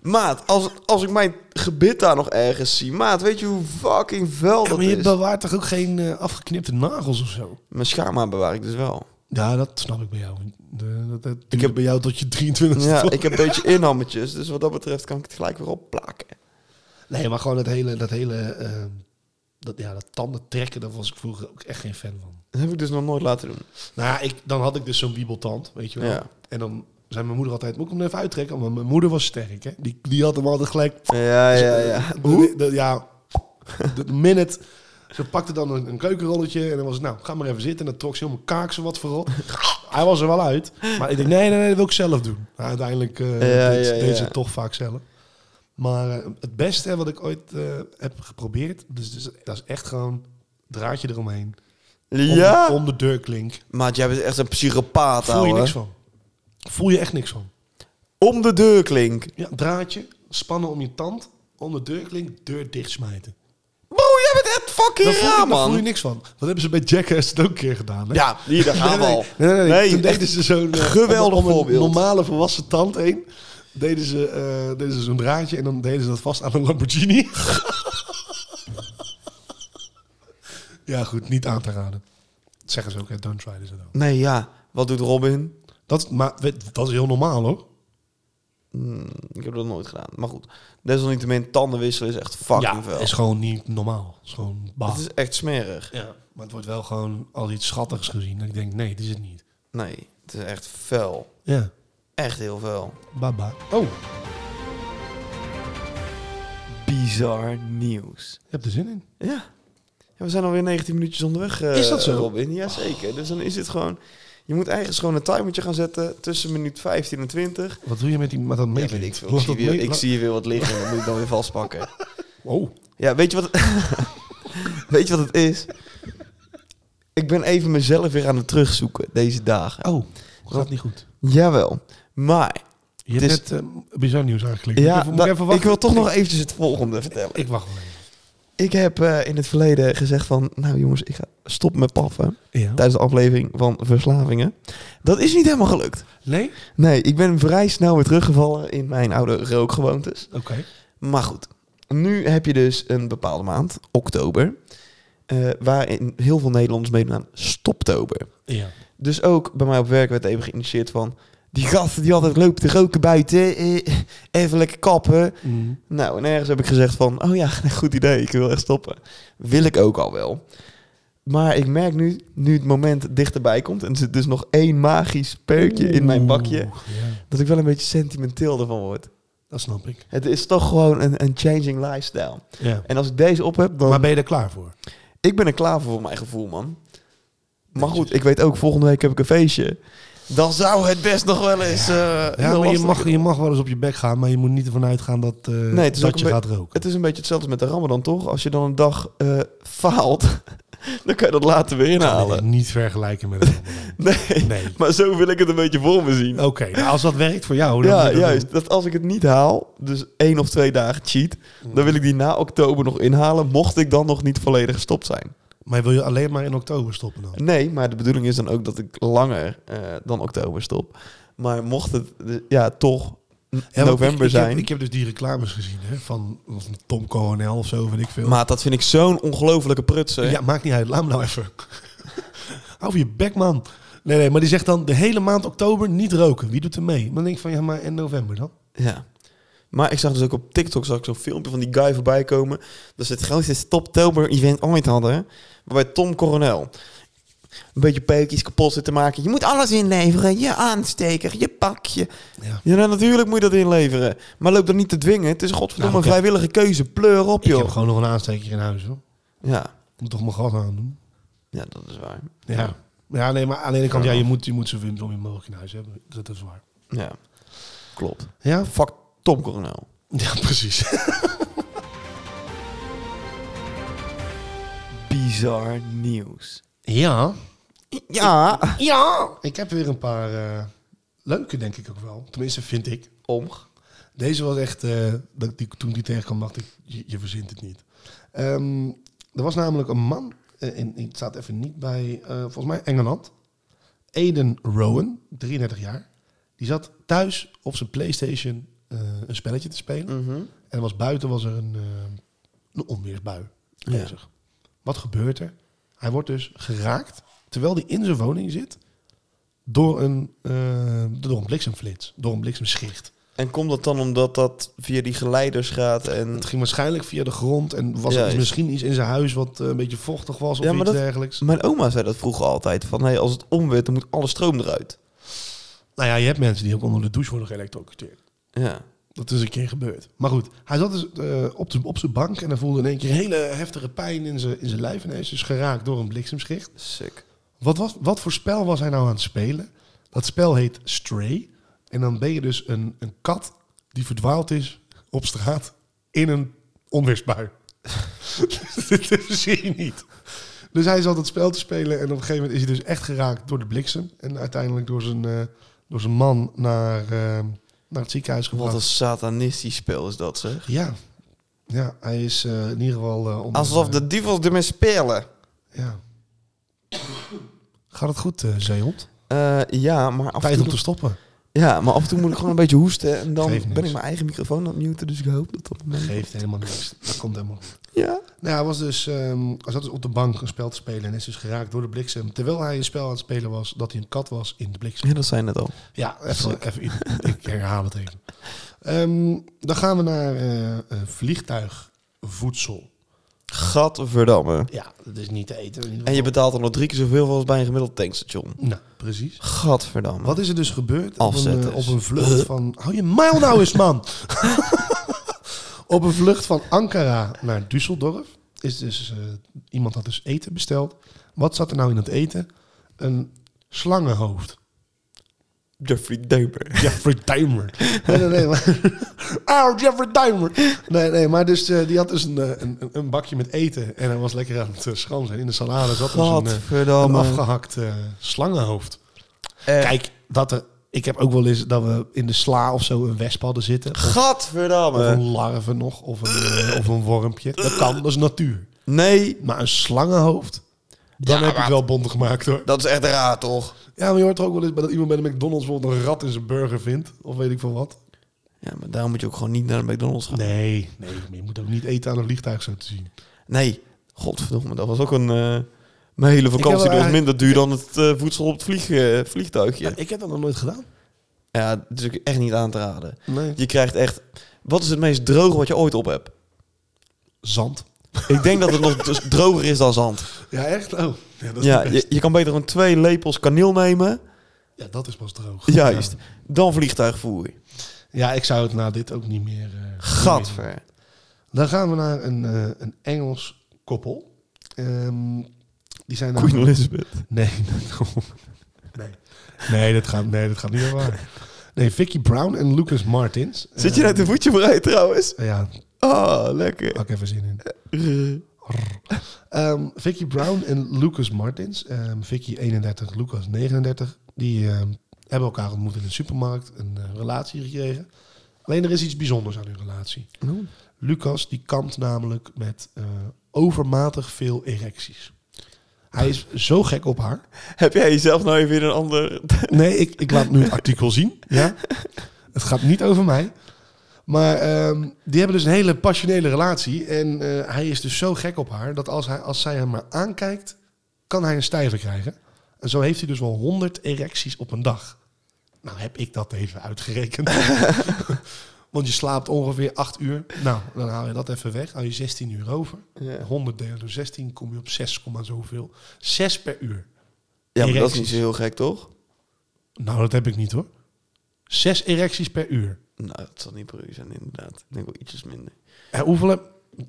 Speaker 2: Maat, als, als ik mijn gebit daar nog ergens zie... Maat, weet je hoe fucking vuil
Speaker 1: Ja,
Speaker 2: dat
Speaker 1: maar je
Speaker 2: is?
Speaker 1: bewaart toch ook geen eh, afgeknipte nagels of zo?
Speaker 2: Mijn schaamhaar bewaar ik dus
Speaker 1: <laughs>
Speaker 2: wel.
Speaker 1: Ja, dat snap ik bij jou. De- dat, dat ik heb bij jou tot je 23
Speaker 2: Ja, ik heb een beetje inhammetjes. Dus wat dat betreft kan ik het gelijk weer opplakken.
Speaker 1: Nee, maar gewoon het hele... Dat hele eh, dat, ja, dat tanden trekken, daar was ik vroeger ook echt geen fan van.
Speaker 2: Dat heb ik dus nog nooit laten doen.
Speaker 1: Nou ja, ik, dan had ik dus zo'n wiebeltand, weet je wel.
Speaker 2: Ja.
Speaker 1: En dan zei mijn moeder altijd, moet ik hem even uittrekken? Want mijn moeder was sterk, hè. Die, die had hem altijd gelijk...
Speaker 2: Ja, Dus, eh, ja,
Speaker 1: Dus,
Speaker 2: ja.
Speaker 1: Hoe? eh, ja, de minute... Ze pakte dan een, een keukenrolletje en dan was het, nou, ga maar even zitten. En dan trok ze helemaal kaak zo wat
Speaker 2: <laughs>
Speaker 1: verrot. Hij was er wel uit. Maar ik denk, nee, nee, nee, dat wil ik zelf doen. Maar uiteindelijk eh
Speaker 2: Ja,
Speaker 1: deed,
Speaker 2: ja,
Speaker 1: deed
Speaker 2: ja.
Speaker 1: ze het toch vaak zelf. Maar eh, het beste wat ik ooit eh, heb geprobeerd, dus, dus dat is echt gewoon draadje eromheen. Om, de,
Speaker 2: Ja?
Speaker 1: om de deurklink.
Speaker 2: Maat, jij bent echt een psychopaat,
Speaker 1: Voel je
Speaker 2: ouwe.
Speaker 1: niks van. Voel je echt niks van.
Speaker 2: Om de deurklink.
Speaker 1: Ja, draadje, spannen om je tand, om de deurklink, deur dicht smijten.
Speaker 2: Bro, jij bent echt fucking
Speaker 1: Daar voel, je-
Speaker 2: raar,
Speaker 1: daar voel je
Speaker 2: man.
Speaker 1: niks van. Wat hebben ze bij Jackass het ook een keer gedaan? Hè?
Speaker 2: Ja, hier, daar gaan we al.
Speaker 1: Nee, nee, nee. Toen
Speaker 2: echt
Speaker 1: deden ze zo'n... eh,
Speaker 2: geweldig
Speaker 1: om een
Speaker 2: voorbeeld.
Speaker 1: normale volwassen tand heen. Deden ze, eh, deden ze zo'n draadje en dan deden ze dat vast aan een Lamborghini. <laughs> ja, goed. Niet aan te raden. Dat zeggen ze ook, hè. Don't try this at home.
Speaker 2: Nee, ja. Wat doet Robin?
Speaker 1: Dat, maar, weet- dat is heel normaal, hoor.
Speaker 2: Ik heb dat nooit gedaan. Maar goed, desalniettemin, tanden wisselen is echt fucking
Speaker 1: ja,
Speaker 2: veel.
Speaker 1: is gewoon niet normaal. is gewoon bah.
Speaker 2: Het is echt smerig.
Speaker 1: Ja, maar het wordt wel gewoon als iets schattigs gezien. Dat ik denk, nee, dit is het niet.
Speaker 2: Nee, het is echt vuil.
Speaker 1: Ja,
Speaker 2: Echt heel vuil.
Speaker 1: baba. Oh,
Speaker 2: Bizar nieuws.
Speaker 1: je hebt er zin in.
Speaker 2: Ja. ja we zijn alweer 19 minuutjes onderweg, eh,
Speaker 1: Is dat zo? Oh.
Speaker 2: Robin. Jazeker. Dus dan is het gewoon... Je moet eigenlijk gewoon een timertje gaan zetten tussen minuut 15 en 20.
Speaker 1: Wat doe je met, die, met dat
Speaker 2: Ja,
Speaker 1: meeting?
Speaker 2: weet ik, veel. ik, zie weer, ik zie hier weer wat liggen en dat moet ik dan weer
Speaker 1: <laughs>
Speaker 2: vastpakken.
Speaker 1: Oh.
Speaker 2: Ja, weet je wat... <laughs> weet je wat het is? Ik ben even mezelf weer aan het terugzoeken deze dagen.
Speaker 1: Oh, gaat niet goed.
Speaker 2: Jawel, maar...
Speaker 1: Je
Speaker 2: Het
Speaker 1: hebt
Speaker 2: is-
Speaker 1: net eh, bizar nieuws aangeklikt.
Speaker 2: Ja,
Speaker 1: moet ik, even, moet
Speaker 2: nou,
Speaker 1: ik
Speaker 2: ik,
Speaker 1: even wachten?
Speaker 2: wil toch nog eventjes het volgende vertellen.
Speaker 1: Ik wacht wel even.
Speaker 2: Ik heb eh, in het verleden gezegd van... Nou jongens, ik ga stoppen met paffen.
Speaker 1: Ja.
Speaker 2: Oh. Tijdens de aflevering van Verslavingen. Dat is niet helemaal gelukt.
Speaker 1: Nee?
Speaker 2: Nee, ik ben vrij snel weer teruggevallen in mijn oude rookgewoontes.
Speaker 1: Oké.
Speaker 2: Maar goed, nu heb je dus een bepaalde maand, oktober... eh, waarin heel veel Nederlanders meedoen aan stoptober.
Speaker 1: Ja.
Speaker 2: Dus ook bij mij op werk werd even geïnitieerd van... Die gasten die altijd lopen te roken buiten. eh, even lekker kappen. <laughs> Nou, en ergens heb ik gezegd van, oh ja, goed idee, ik wil echt stoppen. Wil ik ook al wel. Maar ik merk nu, nu het moment dichterbij komt... en er zit dus nog één magisch peukje in mijn bakje...
Speaker 1: Oeh, ja,
Speaker 2: dat ik wel een beetje sentimenteel ervan word.
Speaker 1: dat snap ik.
Speaker 2: Het is toch gewoon een, een changing lifestyle.
Speaker 1: Ja.
Speaker 2: En Nou, als ik deze op heb, dan...
Speaker 1: Maar ben je er klaar voor?
Speaker 2: Ik ben er klaar voor, voor mijn gevoel, man. Maar goed, ik weet ook, volgende week heb ik een feestje. Dan zou het best nog wel eens... eh,
Speaker 1: Ja,
Speaker 2: heel
Speaker 1: maar je
Speaker 2: lastig-
Speaker 1: mag, je mag wel eens op je bek gaan, maar je moet niet ervan uitgaan dat, eh,
Speaker 2: Nee, het is ook
Speaker 1: dat je
Speaker 2: een be-
Speaker 1: gaat roken.
Speaker 2: Het is een beetje hetzelfde als met de ramadan, toch? Als je dan een dag eh, faalt, <laughs> dan kan je dat later weer
Speaker 1: Nee,
Speaker 2: inhalen.
Speaker 1: niet vergelijken met een ander.
Speaker 2: <laughs> Nee,
Speaker 1: Nee.
Speaker 2: maar zo wil ik het een beetje voor me zien.
Speaker 1: Oké, nou, als dat werkt voor jou, dan moet
Speaker 2: ja,
Speaker 1: je dat
Speaker 2: juist. Dat als ik het niet haal, dus één of twee dagen cheat, dan wil ik die na oktober nog inhalen, mocht ik dan nog niet volledig gestopt zijn.
Speaker 1: doen. Maar wil je alleen maar in oktober stoppen dan?
Speaker 2: Nee, maar de bedoeling is dan ook dat ik langer eh, dan oktober stop. Maar mocht het eh, ja, toch n-
Speaker 1: Ja, want ik-
Speaker 2: november
Speaker 1: ik heb-
Speaker 2: zijn...
Speaker 1: Ik heb, dus die reclames gezien hè, van of een Tom Coronel of zo, weet ik veel.
Speaker 2: maar dat vind ik zo'n ongelofelijke prutsen.
Speaker 1: ja, maakt niet uit. Laat me nou even. <laughs> Hou van je bek, man. Nee, nee, maar die zegt dan de hele maand oktober niet roken. Wie doet er mee? Dan denk ik van, ja, maar en november dan?
Speaker 2: Ja. Maar ik zag dus ook op TikTok zag ik zo'n filmpje van die guy voorbij komen. Dat ze het grootste Stoptober-event ooit hadden. Waarbij Tom Coronel een beetje peukjes kapot zit te maken. Je moet alles inleveren. Je aansteker, je pakje.
Speaker 1: Ja.
Speaker 2: Ja, nou, natuurlijk moet je dat inleveren. Maar loop dat niet te dwingen. Het is een godverdomme
Speaker 1: Nou, ik heb-
Speaker 2: vrijwillige keuze. Pleur op,
Speaker 1: Ik heb
Speaker 2: joh.
Speaker 1: gewoon nog een aansteker in huis, hoor.
Speaker 2: Ja.
Speaker 1: Ik Moet toch mijn gas aandoen?
Speaker 2: ja, dat is waar.
Speaker 1: Ja. Ja, nee, maar aan de ene kant, ja, je moet, je moet zoveel zo mogelijk in huis hebben. Dat is waar.
Speaker 2: Ja, klopt.
Speaker 1: Ja?
Speaker 2: Fuck Tom Coronel.
Speaker 1: <laughs> Ja, precies.
Speaker 2: Bizar nieuws.
Speaker 1: Ja.
Speaker 2: Ja.
Speaker 1: Ja. Ik heb weer een paar eh, leuke, denk ik ook wel. Tenminste, vind ik.
Speaker 2: Omg.
Speaker 1: Deze was echt, eh, dat ik die, toen ik die tegenkwam, dacht ik, je, je verzint het niet. Ehm, er was namelijk een man, eh, in, in- het staat even niet bij, eh, volgens mij Engeland. Aiden Rowan, 33 jaar. Die zat thuis op zijn Playstation eh, een spelletje te spelen.
Speaker 2: Mhm.
Speaker 1: En er was buiten was er een, eh, een onweersbui bezig. Wat gebeurt er? Hij wordt dus geraakt, terwijl hij in zijn woning zit, door een, eh, door een bliksemflits, door een bliksemschicht.
Speaker 2: En komt dat dan omdat dat via die geleiders gaat en...
Speaker 1: Het ging waarschijnlijk via de grond en was er
Speaker 2: Juist.
Speaker 1: iets- misschien iets in zijn huis wat eh, een beetje vochtig was of
Speaker 2: Ja, maar
Speaker 1: iets
Speaker 2: dat-
Speaker 1: dergelijks.
Speaker 2: Mijn oma zei dat vroeger altijd, van hey, als het omweert, dan moet alle stroom eruit.
Speaker 1: Nou ja, je hebt mensen die ook onder de douche worden geëlectrocuteerd.
Speaker 2: Ja.
Speaker 1: Dat is een keer gebeurd. Maar goed, hij zat dus eh, op de- op zijn bank en hij voelde in één keer hele heftige pijn in zijn in zijn lijf. En hij is dus geraakt door een bliksemschicht.
Speaker 2: Sick.
Speaker 1: Wat, was, wat voor spel was hij nou aan het spelen? Dat spel heet Stray. En dan ben je dus een, een kat die verdwaald is op straat in een onweersbui. <laughs> Dit zie je niet. Dus hij zat het spel te spelen en op een gegeven moment is hij dus echt geraakt door de bliksem. En uiteindelijk door zijn, eh, door zijn man naar, eh, naar het ziekenhuis gebracht.
Speaker 2: Wat een satanistisch spel is dat, zeg.
Speaker 1: Ja. ja, hij is eh, in ieder geval... eh, onder-
Speaker 2: Alsof de duivels ermee spelen.
Speaker 1: Ja. Gaat het goed, eh zeehond?
Speaker 2: Eh, ja, maar af en
Speaker 1: Tijd om te
Speaker 2: toe...
Speaker 1: stoppen.
Speaker 2: Ja, maar af en toe moet ik gewoon een beetje hoesten en dan
Speaker 1: Geeft
Speaker 2: ben
Speaker 1: niks.
Speaker 2: ik mijn eigen microfoon aan het muten, dus ik hoop dat dat...
Speaker 1: Geeft helemaal niks. Dat komt helemaal goed.
Speaker 2: Ja.
Speaker 1: Nou, hij was dus, ehm, hij zat dus op de bank een spel te spelen en is dus geraakt door de bliksem. Terwijl hij een spel aan het spelen was, dat hij een kat was in de bliksem.
Speaker 2: Ja, dat zei je net al.
Speaker 1: Ja, even, even in- ik herhaal het even. Ehm, dan gaan we naar eh, eh, vliegtuigvoedsel.
Speaker 2: Gadverdamme.
Speaker 1: Ja, dat is niet te eten.
Speaker 2: En je betaalt dan nog drie keer zoveel als bij een gemiddeld tankstation.
Speaker 1: Nou, precies.
Speaker 2: Gadverdamme.
Speaker 1: Wat is er dus gebeurd op een,
Speaker 2: Afzetters.
Speaker 1: eh, op een vlucht van... Hou je mijl nou eens, man! <laughs> op een vlucht van Ankara naar Düsseldorf is dus... eh, iemand had dus eten besteld. Wat zat er nou in het eten? Een slangenhoofd.
Speaker 2: Jeffrey Dahmer.
Speaker 1: <laughs> Jeffrey Dahmer. Nee, nee, nee. Maar... <laughs> Oh, Jeffrey Dahmer. Nee, nee, maar dus, eh, die had dus een, eh, een, een- een bakje met eten. En hij was lekker aan het eh, schansen. En in de salade zat dus een, eh, een
Speaker 2: Gadverdamme.
Speaker 1: afgehakt eh, slangenhoofd.
Speaker 2: Echt.
Speaker 1: Kijk, dat er, ik heb ook wel eens dat we in de sla of zo een wesp hadden zitten. Of, of
Speaker 2: Gadverdamme.
Speaker 1: een larve nog, of een, eh, of een wormpje. Dat kan, dat is natuur.
Speaker 2: Nee,
Speaker 1: Maar een slangenhoofd, dan
Speaker 2: Ja,
Speaker 1: heb ik
Speaker 2: maar-
Speaker 1: wel bonden gemaakt hoor.
Speaker 2: dat is echt raar toch?
Speaker 1: Ja, maar je hoort er ook wel eens bij dat iemand bij de McDonald's bijvoorbeeld een rat in zijn burger vindt. Of weet ik veel wat.
Speaker 2: Ja, maar daarom moet je ook gewoon niet naar de McDonald's gaan. Nee,
Speaker 1: Nee, nee, maar je moet ook niet eten aan een vliegtuig zo te zien.
Speaker 2: godverdomme, dat was ook een... eh, mijn hele
Speaker 1: Ik
Speaker 2: vakantie
Speaker 1: heb,
Speaker 2: die was
Speaker 1: eh,
Speaker 2: minder duur dan het eh, voedsel op het vlieg, eh, vliegtuigje.
Speaker 1: Ik heb dat nog nooit gedaan.
Speaker 2: Ja, dat is ook echt niet aan te raden.
Speaker 1: Nee.
Speaker 2: Je krijgt echt... Wat is het meest <laughs> droge wat je ooit op hebt?
Speaker 1: Zand.
Speaker 2: Ik denk dat het nog dus droger is dan zand.
Speaker 1: Ja, echt? Oh. Ja, dat is
Speaker 2: Ja,
Speaker 1: het beste.
Speaker 2: je, je kan beter gewoon twee lepels kaneel nemen.
Speaker 1: ja, dat is pas droog.
Speaker 2: Juist.
Speaker 1: Ja.
Speaker 2: Dan vliegtuigvoer.
Speaker 1: Ja, ik zou het na dit ook niet meer... eh,
Speaker 2: Gadver.
Speaker 1: Dan gaan we naar een, eh, een Engels koppel. Ehm, die zijn
Speaker 2: Queen
Speaker 1: namelijk-
Speaker 2: Elizabeth.
Speaker 1: Nee, <laughs> nee. Nee, dat gaat, nee, dat gaat niet meer waar. Nee, Vicky Brown en Lucas Martins.
Speaker 2: Zit je net een voetje vooruit trouwens?
Speaker 1: Eh, ja,
Speaker 2: Ah, lekker.
Speaker 1: pak even zin in. Ehm, Vicky Brown en Lucas Martins. Ehm, Vicky 31, Lucas 39. Die ehm, hebben elkaar ontmoet in een supermarkt. Een eh, relatie gekregen. Alleen er is iets bijzonders aan hun relatie. Lucas die kampt namelijk met eh, overmatig veel erecties. Hij is zo gek op haar.
Speaker 2: Heb jij jezelf nou even in een ander...
Speaker 1: Nee, ik, ik laat nu het artikel zien. Ja? Het gaat niet over mij. Maar ehm, die hebben dus een hele passionele relatie. En eh, hij is dus zo gek op haar dat als, hij, als zij hem maar aankijkt, kan hij een stijve krijgen. En zo heeft hij dus wel 100 erecties op een dag. Nou, heb ik dat even uitgerekend. Want je slaapt ongeveer 8 uur. Nou, dan haal je dat even weg. Hou je 16 uur over.
Speaker 2: Ja.
Speaker 1: 100 delen door 16 kom je op 6, komma zoveel. 6 per uur.
Speaker 2: Ja, maar dat is
Speaker 1: Erecties.
Speaker 2: niet zo heel gek, toch?
Speaker 1: Nou, dat heb ik niet hoor. Zes erecties per uur.
Speaker 2: Nou, dat zal niet per uur zijn, inderdaad. Ik denk wel ietsjes minder.
Speaker 1: En Eh, hoeveel heb...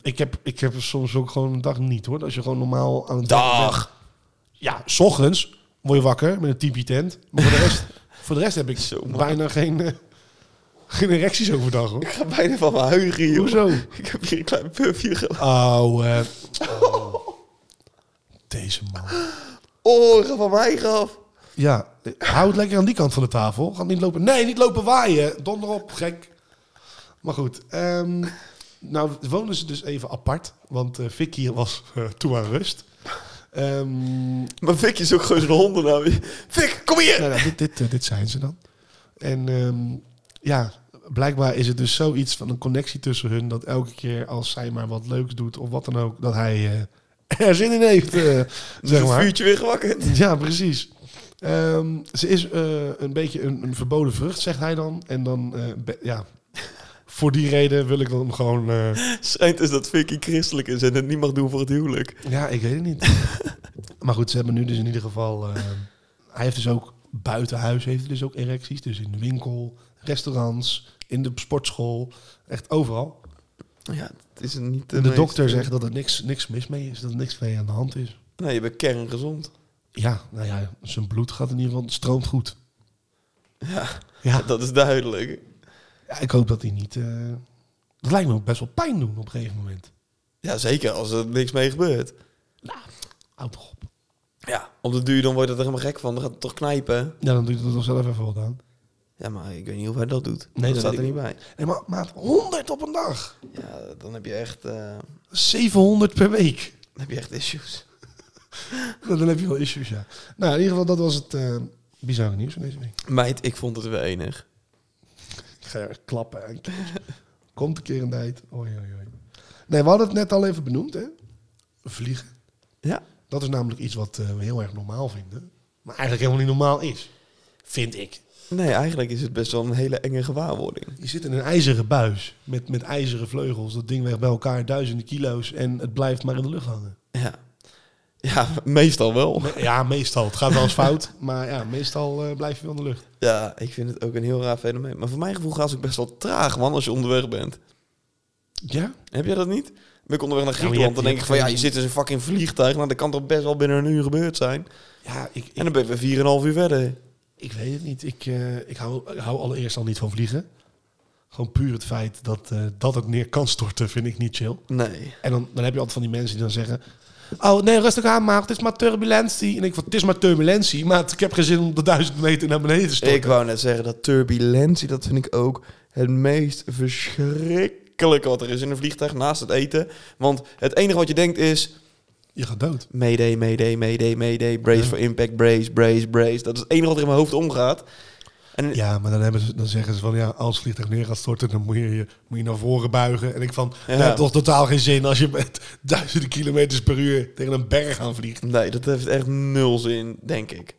Speaker 1: Ik heb, ik heb er soms ook gewoon een dag niet hoor. Als je gewoon normaal aan het werk bent.
Speaker 2: Dag!
Speaker 1: Ja, s ochtends word je wakker met een tipi tent. Maar voor de
Speaker 2: <laughs>
Speaker 1: rest, voor de rest heb ik
Speaker 2: Zo, man.
Speaker 1: bijna geen, eh, geen erecties overdag hoor.
Speaker 2: Ik ga bijna van mijn huigen, joh.
Speaker 1: Hoezo?
Speaker 2: Ik heb hier een klein pufje gelaten.
Speaker 1: Oh, eh, oh. Deze man.
Speaker 2: Oh, ik ga van mij af.
Speaker 1: Ja, houd lekker aan die kant van de tafel. Ga niet lopen. Nee, niet lopen waaien. Donder op, gek. Maar goed. ehm, nou wonen ze dus even apart. Want eh, Vicky was eh, toe aan rust. Ehm
Speaker 2: Maar Vic is ook gewoon zo'n honden nou. Vic, kom hier!
Speaker 1: nou, nou, dit, dit, eh, dit zijn ze dan. En ehm, ja, blijkbaar is het dus zoiets van een connectie tussen hun... dat elke keer als zij maar wat leuks doet of wat dan ook... dat hij eh, er zin in heeft, eh,
Speaker 2: Dus
Speaker 1: zeg
Speaker 2: het
Speaker 1: maar.
Speaker 2: vuurtje weer gewakkerd.
Speaker 1: Ja, precies. Ehm, ze is eh, een beetje een, een verboden vrucht, zegt hij dan. En dan, eh, be- ja, voor die reden wil ik dan gewoon... eh,
Speaker 2: Schijnt dus dat Vicky christelijk is en het niet mag doen voor het huwelijk.
Speaker 1: ja, ik weet het niet. <laughs> maar goed, ze hebben nu dus in ieder geval... eh, hij heeft dus ook buiten huis heeft hij dus ook erecties. Dus in de winkel, restaurants, in de sportschool. Echt overal.
Speaker 2: Ja, het is niet eh,
Speaker 1: De, dokter zegt dat er niks, niks mis mee is. Dat er niks mee aan de hand is.
Speaker 2: Nee, je bent kerngezond.
Speaker 1: Ja, nou ja, zijn bloed gaat in ieder geval... het stroomt goed.
Speaker 2: Ja,
Speaker 1: Ja.
Speaker 2: dat is duidelijk.
Speaker 1: Ja, ik hoop dat hij niet. eh, dat lijkt me ook best wel pijn doen op een gegeven moment.
Speaker 2: Ja, zeker als er niks mee gebeurt.
Speaker 1: Houd toch op.
Speaker 2: Ja, op de duur dan wordt het er helemaal gek van. Dan gaat het toch knijpen.
Speaker 1: Ja, dan doe je er toch zelf even wat aan.
Speaker 2: Ja, maar ik weet niet hoe hij dat doet.
Speaker 1: Nee, dat
Speaker 2: dat staat
Speaker 1: weet
Speaker 2: er niet
Speaker 1: ik
Speaker 2: bij.
Speaker 1: Nee, maar maat, 100 op een dag.
Speaker 2: Ja, dan heb je echt, eh,
Speaker 1: 700 per week. <laughs>
Speaker 2: dan heb je echt issues.
Speaker 1: Nou, dan heb je wel issues, ja. Nou, in ieder geval, dat was het eh, bizarre nieuws van deze week.
Speaker 2: Meid, ik vond het weer enig.
Speaker 1: Ik ga er klappen en <laughs> Komt een keer een tijd. Oei, oei, oei. Nee, we hadden het net al even benoemd, hè. Vliegen.
Speaker 2: Ja.
Speaker 1: Dat is namelijk iets wat eh, we heel erg normaal vinden. Maar eigenlijk helemaal niet normaal is. Vind ik.
Speaker 2: Nee, eigenlijk is het best wel een hele enge gewaarwording.
Speaker 1: Je zit in een ijzeren buis met, met ijzeren vleugels. Dat ding weegt bij elkaar duizenden kilo's en het blijft maar in de lucht hangen.
Speaker 2: Ja. Ja, meestal wel.
Speaker 1: Me- ja, meestal. Het gaat wel eens fout, <laughs> maar ja, meestal eh, blijf je wel in de lucht.
Speaker 2: Ja, ik vind het ook een heel raar fenomeen. Maar voor mijn gevoel gaat het ook best wel traag, man, als je onderweg bent.
Speaker 1: Ja?
Speaker 2: Heb jij dat niet? Ben ik onderweg naar
Speaker 1: Ja, maar je
Speaker 2: Griekenland, dan denk
Speaker 1: hebt-
Speaker 2: ik
Speaker 1: je
Speaker 2: van ja,
Speaker 1: hebt
Speaker 2: je
Speaker 1: geen-
Speaker 2: zit in een fucking vliegtuig. Nou, dat kan toch best wel binnen een uur gebeurd zijn.
Speaker 1: Ja, ik,
Speaker 2: En
Speaker 1: ik,
Speaker 2: dan ben je weer 4,5 uur verder.
Speaker 1: ik weet het niet. Ik, eh, ik, hou, ik hou allereerst al niet van vliegen. Gewoon puur het feit dat, eh, dat het neer kan storten vind ik niet chill.
Speaker 2: Nee.
Speaker 1: En dan, dan heb je altijd van die mensen die dan zeggen... Oh, nee, rustig aan, maar het is maar turbulentie. En ik van, het is maar turbulentie, maar ik heb geen zin om de duizend meter naar beneden te storten.
Speaker 2: Ik wou net zeggen, dat turbulentie, dat vind ik ook het meest verschrikkelijke wat er is in een vliegtuig naast het eten. Want het enige wat je denkt is,
Speaker 1: Je gaat dood.
Speaker 2: mayday, mayday, mayday, mayday, brace for impact, brace, brace, brace. Dat is het enige wat er in mijn hoofd omgaat. En
Speaker 1: Ja, maar dan, hebben ze, dan zeggen ze van ja, als het vliegtuig neer gaat storten, dan moet je, je- moet je naar voren buigen. En ik van,
Speaker 2: Ja.
Speaker 1: dat heeft toch totaal geen zin als je met <laughs> duizenden kilometers per uur tegen een berg aan vliegt.
Speaker 2: nee, dat heeft echt nul zin, denk ik.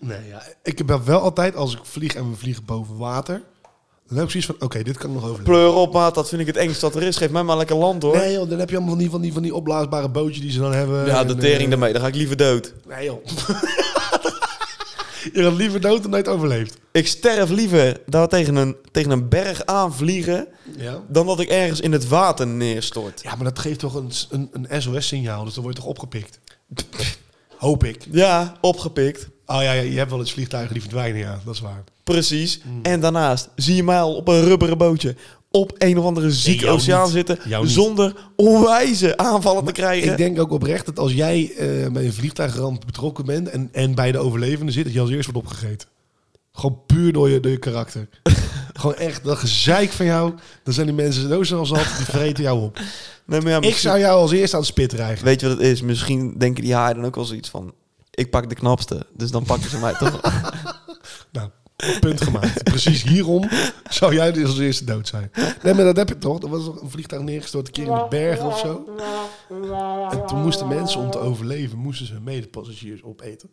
Speaker 1: Nee, ja, ik heb wel altijd, als ik vlieg en we vliegen boven water, Dan heb ik zoiets van, oké, dit kan ik nog overleven.
Speaker 2: Pleur op, maat, dat vind ik het engst wat er is. Geef mij maar lekker land, hoor.
Speaker 1: Nee joh, dan heb je allemaal van die, van die, van die opblaasbare bootjes die ze dan hebben.
Speaker 2: ja, de
Speaker 1: En,
Speaker 2: tering
Speaker 1: eh,
Speaker 2: daarmee. Dan ga ik liever dood.
Speaker 1: Nee joh. <laughs> je gaat liever dood dan dat je het overleeft.
Speaker 2: Ik sterf liever daar tegen een, tegen een berg aanvliegen...
Speaker 1: Ja.
Speaker 2: dan dat ik ergens in het water neerstort.
Speaker 1: Ja, maar dat geeft toch een, s- een, een SOS-signaal, dus dan word je toch opgepikt. <laughs> Hoop ik.
Speaker 2: Ja, opgepikt.
Speaker 1: Oh ja, ja, je hebt wel eens vliegtuigen die verdwijnen, ja, dat is waar.
Speaker 2: Precies. En daarnaast zie je mij al op een rubberen bootje... op een of andere zieke
Speaker 1: jou
Speaker 2: oceaan
Speaker 1: niet. Jou
Speaker 2: zitten...
Speaker 1: niet.
Speaker 2: zonder onwijze aanvallen te krijgen.
Speaker 1: Ik denk ook oprecht dat als jij eh, bij een vliegtuigramp betrokken bent en, en bij de overlevenden zit, dat je als eerst wordt opgegeten. Gewoon puur door je, door je <laughs> karakter. Gewoon echt, dat gezeik van jou, dan zijn die mensen zo snel zat, die vreten jou op.
Speaker 2: Nee, maar
Speaker 1: <laughs>
Speaker 2: ja,
Speaker 1: Ik
Speaker 2: misschien-
Speaker 1: zou jou als eerst aan het spit dreigen.
Speaker 2: Weet je wat het is? Misschien denken die haaien dan ook wel zoiets van... Ik pak de knapste, dus dan pakken ze mij toch.
Speaker 1: Nou, punt gemaakt. <laughs> Precies hierom zou jij dus als eerste dood zijn. Nee, maar dat heb je toch? Er was toch een vliegtuig neergestort een keer in de bergen of zo. En toen moesten mensen om te overleven, moesten ze hun medepassagiers opeten.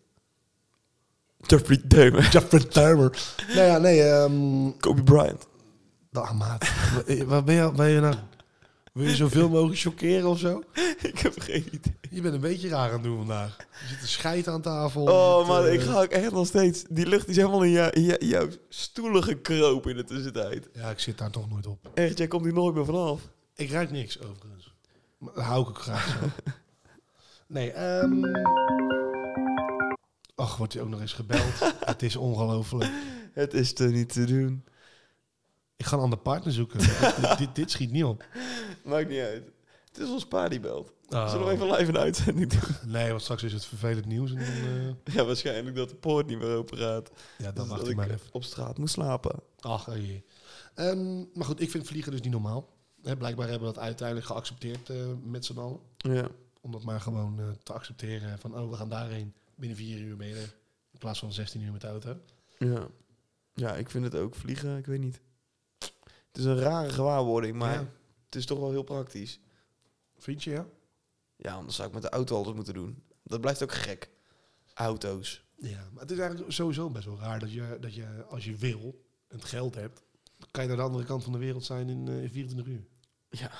Speaker 2: Jeffrey Dahmer.
Speaker 1: <laughs> Jeffrey Dahmer. Nou ja, nee, ehm
Speaker 2: Kobe Bryant. <laughs>
Speaker 1: nou, maat. Waar ben je, ben je nou? Wil je zoveel mogelijk chockeren of zo?
Speaker 2: Ik heb geen idee.
Speaker 1: Je bent een beetje raar aan het doen vandaag. Er zit een scheid aan tafel.
Speaker 2: Oh
Speaker 1: Met,
Speaker 2: man,
Speaker 1: eh,
Speaker 2: ik ga ook echt nog steeds... Die lucht is helemaal in, jou, in jou- jouw stoelen gekropen in de tussentijd.
Speaker 1: Ja, ik zit daar toch nooit op.
Speaker 2: Echt, jij komt hier nooit meer vanaf.
Speaker 1: Ik ruik niks, overigens. Maar dat hou ik ook graag zo. <laughs> Nee, ehm... Ach, wordt hij ook nog eens <laughs> gebeld. Het is ongelooflijk.
Speaker 2: Het is er niet te doen.
Speaker 1: Ik ga een ander partner <laughs> zoeken. dit, dit, dit schiet niet op.
Speaker 2: Maakt niet uit. Het is ons pa die belt.
Speaker 1: Oh.
Speaker 2: Zullen we even live een uitzending doen? <laughs>
Speaker 1: Nee, want straks is het vervelend nieuws. En dan, eh,
Speaker 2: Ja, waarschijnlijk dat de poort niet meer open gaat.
Speaker 1: ja, dan
Speaker 2: Dus
Speaker 1: wacht
Speaker 2: dat
Speaker 1: ik maar
Speaker 2: ik
Speaker 1: even.
Speaker 2: op straat moet slapen.
Speaker 1: Ach, oh jee. Ehm, maar goed, ik vind vliegen dus niet normaal. Hè, blijkbaar hebben we dat uiteindelijk geaccepteerd eh, met z'n allen.
Speaker 2: Ja.
Speaker 1: Om dat maar gewoon eh, te accepteren van, oh, we gaan daarheen. Binnen vier uur ben je er. In plaats van 16 uur met de auto.
Speaker 2: Ja. ja, ik vind het ook. Vliegen, ik weet niet. Het is een rare gewaarwording, maar
Speaker 1: Ja.
Speaker 2: het is toch wel heel praktisch.
Speaker 1: Vind je, ja?
Speaker 2: Ja, anders zou ik met de auto alles moeten doen. Dat blijft ook gek. Auto's.
Speaker 1: Ja, maar het is eigenlijk sowieso best wel raar dat je, dat je als je wil en het geld hebt, dan kan je naar de andere kant van de wereld zijn in, eh, in 24 uur.
Speaker 2: Ja.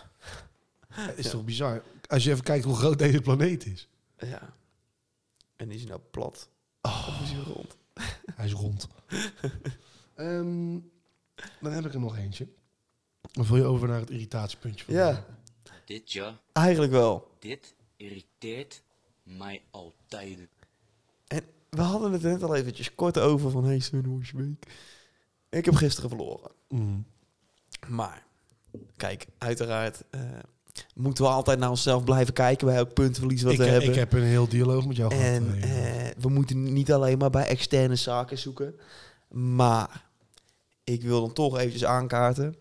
Speaker 1: Het is
Speaker 2: Ja.
Speaker 1: toch bizar? Als je even kijkt hoe groot deze planeet is.
Speaker 2: ja. En is hij nou plat?
Speaker 1: Oh.
Speaker 2: Of is hij rond?
Speaker 1: Hij is
Speaker 2: <laughs>
Speaker 1: rond. Ehm, dan heb ik er nog eentje. Dan vul je over naar het irritatiepuntje. Van mij.
Speaker 2: Ja,
Speaker 4: Dit ja,
Speaker 2: eigenlijk wel.
Speaker 4: dit irriteert mij altijd.
Speaker 2: En we hadden het net al eventjes kort over van... Hey, Sven, hoe is je week? Ik heb gisteren verloren.
Speaker 1: Mm.
Speaker 2: Maar, kijk, uiteraard... eh, moeten we altijd naar onszelf blijven kijken... bij elk puntverlies wat
Speaker 1: Ik,
Speaker 2: we
Speaker 1: heb-
Speaker 2: hebben.
Speaker 1: ik heb een heel dialoog met jou gehad.
Speaker 2: En
Speaker 1: eh, jongen.
Speaker 2: eh, we moeten niet alleen maar bij externe zaken zoeken. Maar ik wil dan toch eventjes aankaarten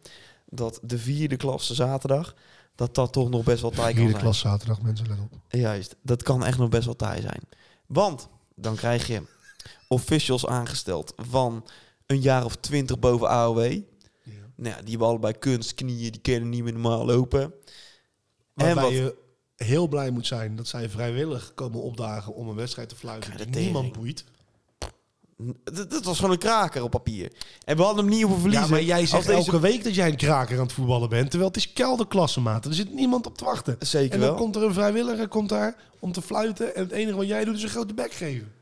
Speaker 2: dat de vierde klasse zaterdag, dat dat toch nog best wel taai kan
Speaker 1: Vierde
Speaker 2: zijn.
Speaker 1: klas zaterdag, mensen, let op.
Speaker 2: Juist, dat kan echt nog best wel taai zijn. Want dan krijg je officials aangesteld van een jaar of twintig boven AOW. Nou ja, die hebben allebei kunstknieën, die kunnen niet meer normaal lopen.
Speaker 1: Waarbij
Speaker 2: wat-
Speaker 1: je heel blij moet zijn dat zij vrijwillig komen opdagen om een wedstrijd te fluiten die
Speaker 2: Krijg de tering.
Speaker 1: niemand boeit.
Speaker 2: Dat, dat was gewoon een kraker op papier. En we hadden hem niet hoeven verliezen.
Speaker 1: eh, Ja, maar jij zegt
Speaker 2: Als deze-
Speaker 1: elke week dat jij een kraker aan het voetballen bent. Terwijl het is kelderklasse, maat. Er zit niemand op te wachten.
Speaker 2: Zeker
Speaker 1: en dan
Speaker 2: wel.
Speaker 1: komt er een vrijwilliger komt daar om te fluiten. En het enige wat jij doet is een grote bek geven.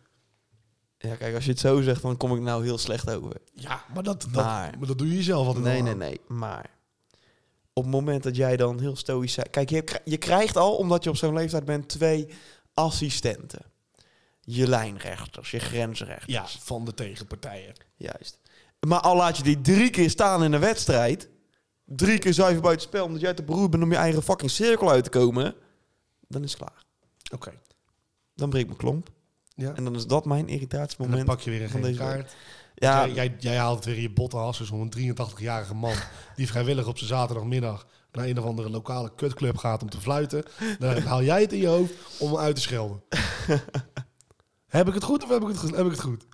Speaker 2: Ja, kijk, als je het zo zegt, dan kom ik nou heel slecht over.
Speaker 1: Ja, maar dat, dat,
Speaker 2: Maar-
Speaker 1: maar, dat doe je zelf altijd
Speaker 2: Nee,
Speaker 1: al
Speaker 2: nee,
Speaker 1: aan.
Speaker 2: nee. Maar op het moment dat jij dan heel stoïsch... zijn- Kijk, je, kri- je krijgt al, omdat je op zo'n leeftijd bent, twee assistenten. Je lijnrechters, je grensrechters.
Speaker 1: Ja, van de tegenpartijen.
Speaker 2: Juist. Maar al laat je die drie keer staan in een wedstrijd... drie keer zuiver buiten spel, omdat jij te beroerd bent om je eigen fucking cirkel uit te komen... dan is het klaar.
Speaker 1: Oké.
Speaker 2: Dan breekt mijn klomp.
Speaker 1: Ja.
Speaker 2: En dan is dat mijn irritatiemoment.
Speaker 1: En dan pak je weer een
Speaker 2: van
Speaker 1: gele
Speaker 2: deze week.
Speaker 1: kaart.
Speaker 2: Ja,
Speaker 1: Jij, jij, jij haalt weer je botte hassers om een 83-jarige
Speaker 2: <laughs>
Speaker 1: man... die vrijwillig op zijn zaterdagmiddag naar een of andere lokale kutclub gaat om te fluiten. Dan haal jij het in je hoofd om hem uit te
Speaker 2: <laughs>
Speaker 1: schelden. heb ik het goed of heb ik het, ge- heb ik het goed?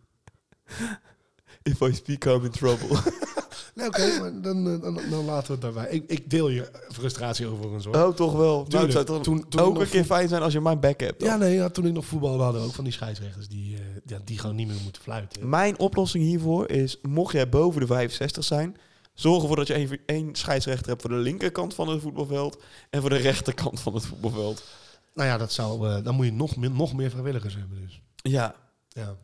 Speaker 2: if I speak, I'm in
Speaker 1: <laughs>
Speaker 2: trouble. <laughs>
Speaker 1: Nee, oké, maar dan, eh, dan, dan laten we het daarbij. Ik, ik deel je frustratie overigens hoor.
Speaker 2: Oh, toch wel. Nou, het zou toch
Speaker 1: Toen- toen
Speaker 2: ook
Speaker 1: nog
Speaker 2: een keer fijn zijn als je mijn back hebt. dan.
Speaker 1: Ja, nee, ja, toen ik nog voetbalde hadden we ook van die scheidsrechters die, eh, Mm. ja, die gewoon niet meer moeten fluiten.
Speaker 2: Mijn oplossing hiervoor is, mocht jij boven de 65 zijn, Zorg ervoor dat je één- één scheidsrechter hebt voor de linkerkant van het voetbalveld en voor de rechterkant van het voetbalveld.
Speaker 1: Nou ja, dat zou, eh, dan moet je nog, min, nog meer vrijwilligers hebben dus.
Speaker 2: Ja,
Speaker 1: Ja,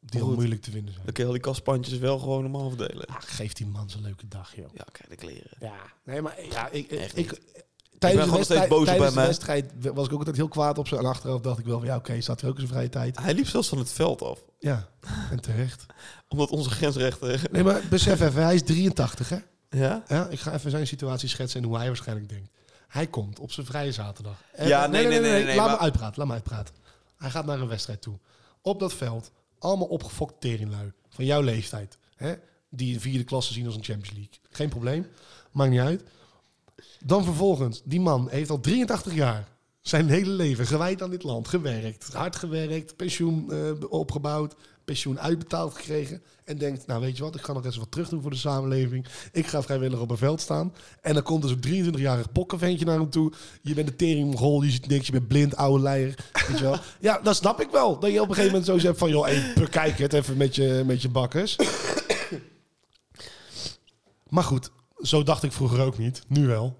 Speaker 1: die
Speaker 2: Goed.
Speaker 1: al moeilijk te vinden zijn.
Speaker 2: dan kun je al die kastpandjes wel gewoon normaal verdelen.
Speaker 1: Ah, geef die man zijn leuke dag, joh.
Speaker 2: Ja, kijk, de kleren.
Speaker 1: Ja, nee, maar ja, ik, ik,
Speaker 2: Echt
Speaker 1: ik- eh,
Speaker 2: niet.
Speaker 1: tijdens de
Speaker 2: gewoon nog steeds
Speaker 1: wedstrijd,
Speaker 2: boos op
Speaker 1: tijdens
Speaker 2: hem,
Speaker 1: de
Speaker 2: hè?
Speaker 1: wedstrijd was ik ook altijd heel kwaad op ze. En achteraf dacht ik wel van, ja, oké, staat er ook eens een vrije tijd.
Speaker 2: Hij liep zelfs van het veld af,
Speaker 1: Ja, en terecht.
Speaker 2: omdat onze grensrechter...
Speaker 1: Nee, maar besef even, hij is 83, hè?
Speaker 2: Ja?
Speaker 1: Ja, ik ga even zijn situatie schetsen en hoe hij waarschijnlijk denkt. Hij komt op zijn vrije zaterdag. Eh, En-
Speaker 2: Ja, nee, nee, nee, nee,
Speaker 1: laat
Speaker 2: maar-
Speaker 1: me uitpraten, laat me uitpraten. Hij gaat naar een wedstrijd toe. Op dat veld, allemaal opgefokt teringlui van jouw leeftijd. Hè? Die de vierde klasse zien als een Champions League. Geen probleem, maakt niet uit. Dan vervolgens, die man heeft al 83 jaar zijn hele leven gewijd aan dit land. Gewerkt, hard gewerkt, pensioen eh, opgebouwd, pensioen uitbetaald gekregen. En denkt, nou weet je wat, ik ga nog eens wat terug doen voor de samenleving. Ik ga vrijwillig op een veld staan. En dan komt dus een 23-jarig pokkenventje naar hem toe. Je bent een teringmongol, je ziet niks, je bent blind, oude leier. Weet je wel. Ja, dat snap ik wel. Dat je op een gegeven moment zoiets hebt van, joh, hey, bekijk het even met je, met je bakkers. Maar goed, zo dacht ik vroeger ook niet. Nu wel.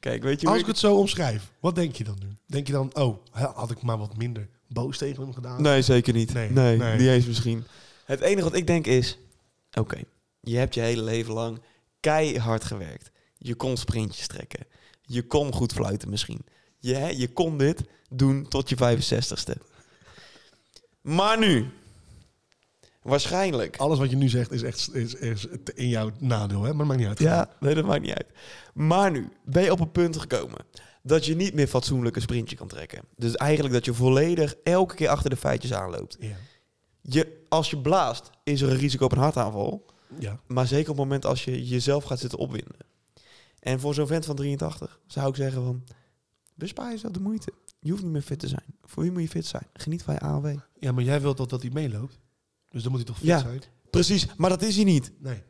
Speaker 2: Kijk, weet je hoe
Speaker 1: Als ik
Speaker 2: ik-
Speaker 1: het zo omschrijf, wat denk je dan nu? Denk je dan, oh, hè, had ik maar wat minder boos tegen hem gedaan?
Speaker 2: Nee, zeker niet. Nee,
Speaker 1: Nee,
Speaker 2: nee,
Speaker 1: nee.
Speaker 2: niet eens misschien. Het enige wat ik denk is... Oké, je hebt je hele leven lang keihard gewerkt. Je kon sprintjes trekken. Je kon goed fluiten misschien. Je, hè, je kon dit doen tot je 65ste. Maar nu... Waarschijnlijk...
Speaker 1: Alles wat je nu zegt is echt is, is in jouw nadeel, hè? maar dat maakt niet uit.
Speaker 2: Ja, nee, dat maakt niet uit. Maar nu ben je op een punt gekomen dat je niet meer fatsoenlijk een sprintje kan trekken. Dus eigenlijk dat je volledig elke keer achter de feitjes aanloopt.
Speaker 1: Ja.
Speaker 2: Je, als je blaast, is er een risico op een hartaanval.
Speaker 1: ja.
Speaker 2: Maar zeker op het moment als je jezelf gaat zitten opwinden. En voor zo'n vent van 83 zou ik zeggen van... Bespaar jezelf de moeite. Je hoeft niet meer fit te zijn. Voor je moet je fit zijn. Geniet van je AOW.
Speaker 1: Ja, maar jij wilt dat, dat hij meeloopt. Dus dan moet hij toch fit
Speaker 2: Ja.
Speaker 1: zijn?
Speaker 2: Precies, maar dat is hij niet.
Speaker 1: Nee. Oké,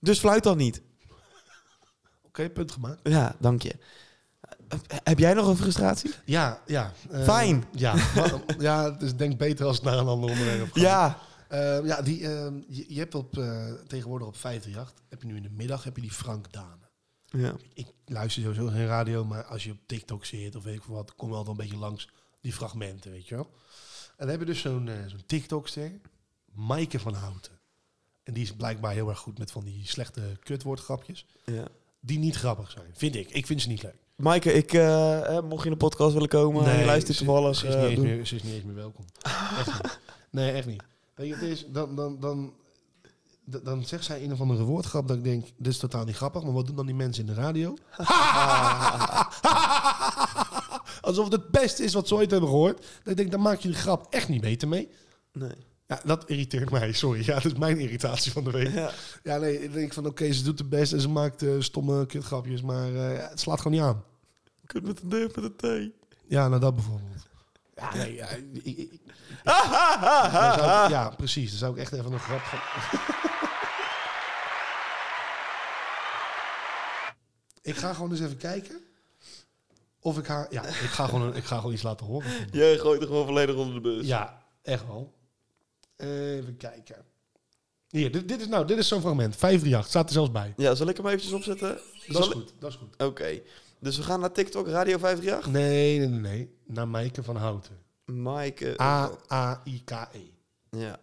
Speaker 2: Dus fluit dan niet.
Speaker 1: punt gemaakt.
Speaker 2: Ja, dank je. Heb jij nog een frustratie?
Speaker 1: Ja, ja. eh,
Speaker 2: Fijn.
Speaker 1: Ja, maar- ja, dus denk beter als het naar een ander onderwerp gaat.
Speaker 2: Ja.
Speaker 1: Ehm, ja, die, ehm, je, je hebt op, eh, tegenwoordig op 538, heb je nu in de middag, heb je die Frank Dane.
Speaker 2: ja.
Speaker 1: ik luister sowieso geen radio, maar als je op TikTok zit of weet ik veel wat, kom wel dan een beetje langs die fragmenten, weet je wel. En dan heb je dus zo'n eh, zo'n TikTokster, Maaike van Houten. En die is blijkbaar heel erg goed met van die slechte kutwoordgrapjes,
Speaker 2: ja.
Speaker 1: die niet grappig zijn, vind ik. Ik vind ze niet leuk.
Speaker 2: Maaike, ik, eh, eh, mocht je in de podcast willen komen en je eh, luistert
Speaker 1: ze-
Speaker 2: toevallig...
Speaker 1: Ze is,
Speaker 2: eh,
Speaker 1: niet eens
Speaker 2: doe-
Speaker 1: meer, ze is niet eens meer welkom. Echt niet. Nee, echt niet. Weet je, het is, dan, dan, dan, dan, dan zegt zij een of andere woordgrap dat ik denk, dit is totaal niet grappig, maar wat doen dan die mensen in de radio? <laughs> Alsof het het beste is wat ze ooit hebben gehoord. Dan denk ik, dan maak je de grap echt niet beter mee.
Speaker 2: Nee.
Speaker 1: Ja, dat irriteert mij, sorry. Ja, dat is mijn irritatie van de week.
Speaker 2: <laughs> Ja.
Speaker 1: Ja, nee, ik denk van oké, ze doet het best en ze maakt eh, stomme kutgrapjes, maar eh, het slaat gewoon niet aan.
Speaker 2: Kut met een deur met een thee.
Speaker 1: Ja, nou dat bijvoorbeeld. Ja, nee, ja, ik- ik- ik- Dan zou ik- ja, precies. Dan zou ik echt even een grap gaan... <laughs> ik ga gewoon eens even kijken of ik haar... Ja, ik ga gewoon, een- ik ga gewoon iets laten horen.
Speaker 2: <laughs> Jij gooit er gewoon volledig onder de bus.
Speaker 1: Ja, echt wel. Even kijken. Hier, dit, dit is, nou, dit is zo'n fragment. 538, staat er zelfs bij.
Speaker 2: Ja, zal ik hem eventjes opzetten?
Speaker 1: Dat is
Speaker 2: Zal-
Speaker 1: goed, dat is goed.
Speaker 2: Oké. Dus we gaan naar TikTok, Radio 538.
Speaker 1: Nee, nee, nee, nee. Naar Maaike van Houten. Eh,
Speaker 2: Maaike.
Speaker 1: Ah.
Speaker 2: eh, oh,
Speaker 1: A-A-I-K-E.
Speaker 2: Ja.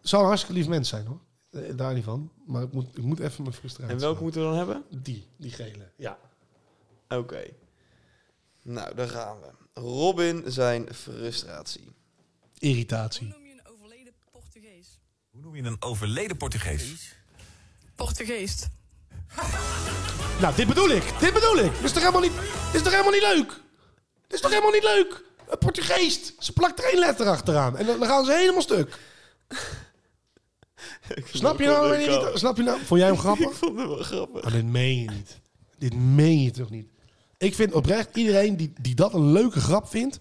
Speaker 1: Zou E. een hartstikke lief mens zijn, hoor. Eh, Daar niet van. Maar ik moet, ik moet even mijn frustratie...
Speaker 2: En welke
Speaker 1: houden.
Speaker 2: moeten we dan hebben?
Speaker 1: Die, die gele. Ja.
Speaker 2: Oké. Nou, daar gaan we. Robin zijn frustratie.
Speaker 1: Irritatie.
Speaker 5: Hoe noem je een overleden Portugees?
Speaker 6: Hoe noem je een overleden Portugees?
Speaker 5: Portugees.
Speaker 1: Nou, dit bedoel ik. Dit bedoel ik. Dit is toch helemaal niet, dit is toch helemaal niet leuk? Dit is toch helemaal niet leuk? Een Portugees. Ze plakt er één letter achteraan. En dan, dan gaan ze helemaal stuk. Snap je nou? wanneer je niet- Snap je nou? Vond jij hem
Speaker 2: Ik
Speaker 1: grappig?
Speaker 2: vond het wel grappig.
Speaker 1: <laughs> Maar dit meen je niet. Dit meen je toch niet? Ik vind oprecht, iedereen die, die dat een leuke grap vindt...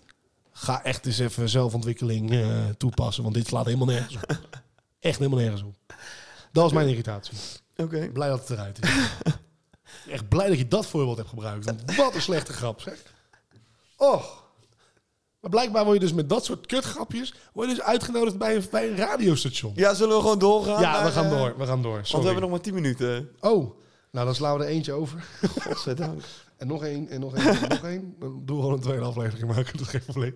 Speaker 1: ga echt eens even zelfontwikkeling eh, toepassen. Want dit slaat helemaal nergens op. Echt helemaal nergens op. Dat was mijn irritatie.
Speaker 2: Oké.
Speaker 1: Blij dat het eruit <laughs> is. Echt blij dat je dat voorbeeld hebt gebruikt. Want wat een slechte grap, zeg. Och. Maar blijkbaar word je dus met dat soort kutgrapjes word je dus uitgenodigd bij een, bij een radiostation. Ja,
Speaker 2: Ja, zullen we gewoon doorgaan? naar,
Speaker 1: we gaan
Speaker 2: eh,
Speaker 1: door. We gaan door.
Speaker 2: Want
Speaker 1: Sorry.
Speaker 2: we hebben nog maar 10 minuten.
Speaker 1: Oh, nou dan slaan we er eentje over.
Speaker 2: Godzijdank.
Speaker 1: En nog één, en nog één, en nog <laughs> één. Dan doen we gewoon een tweede aflevering maken, dat is geen probleem.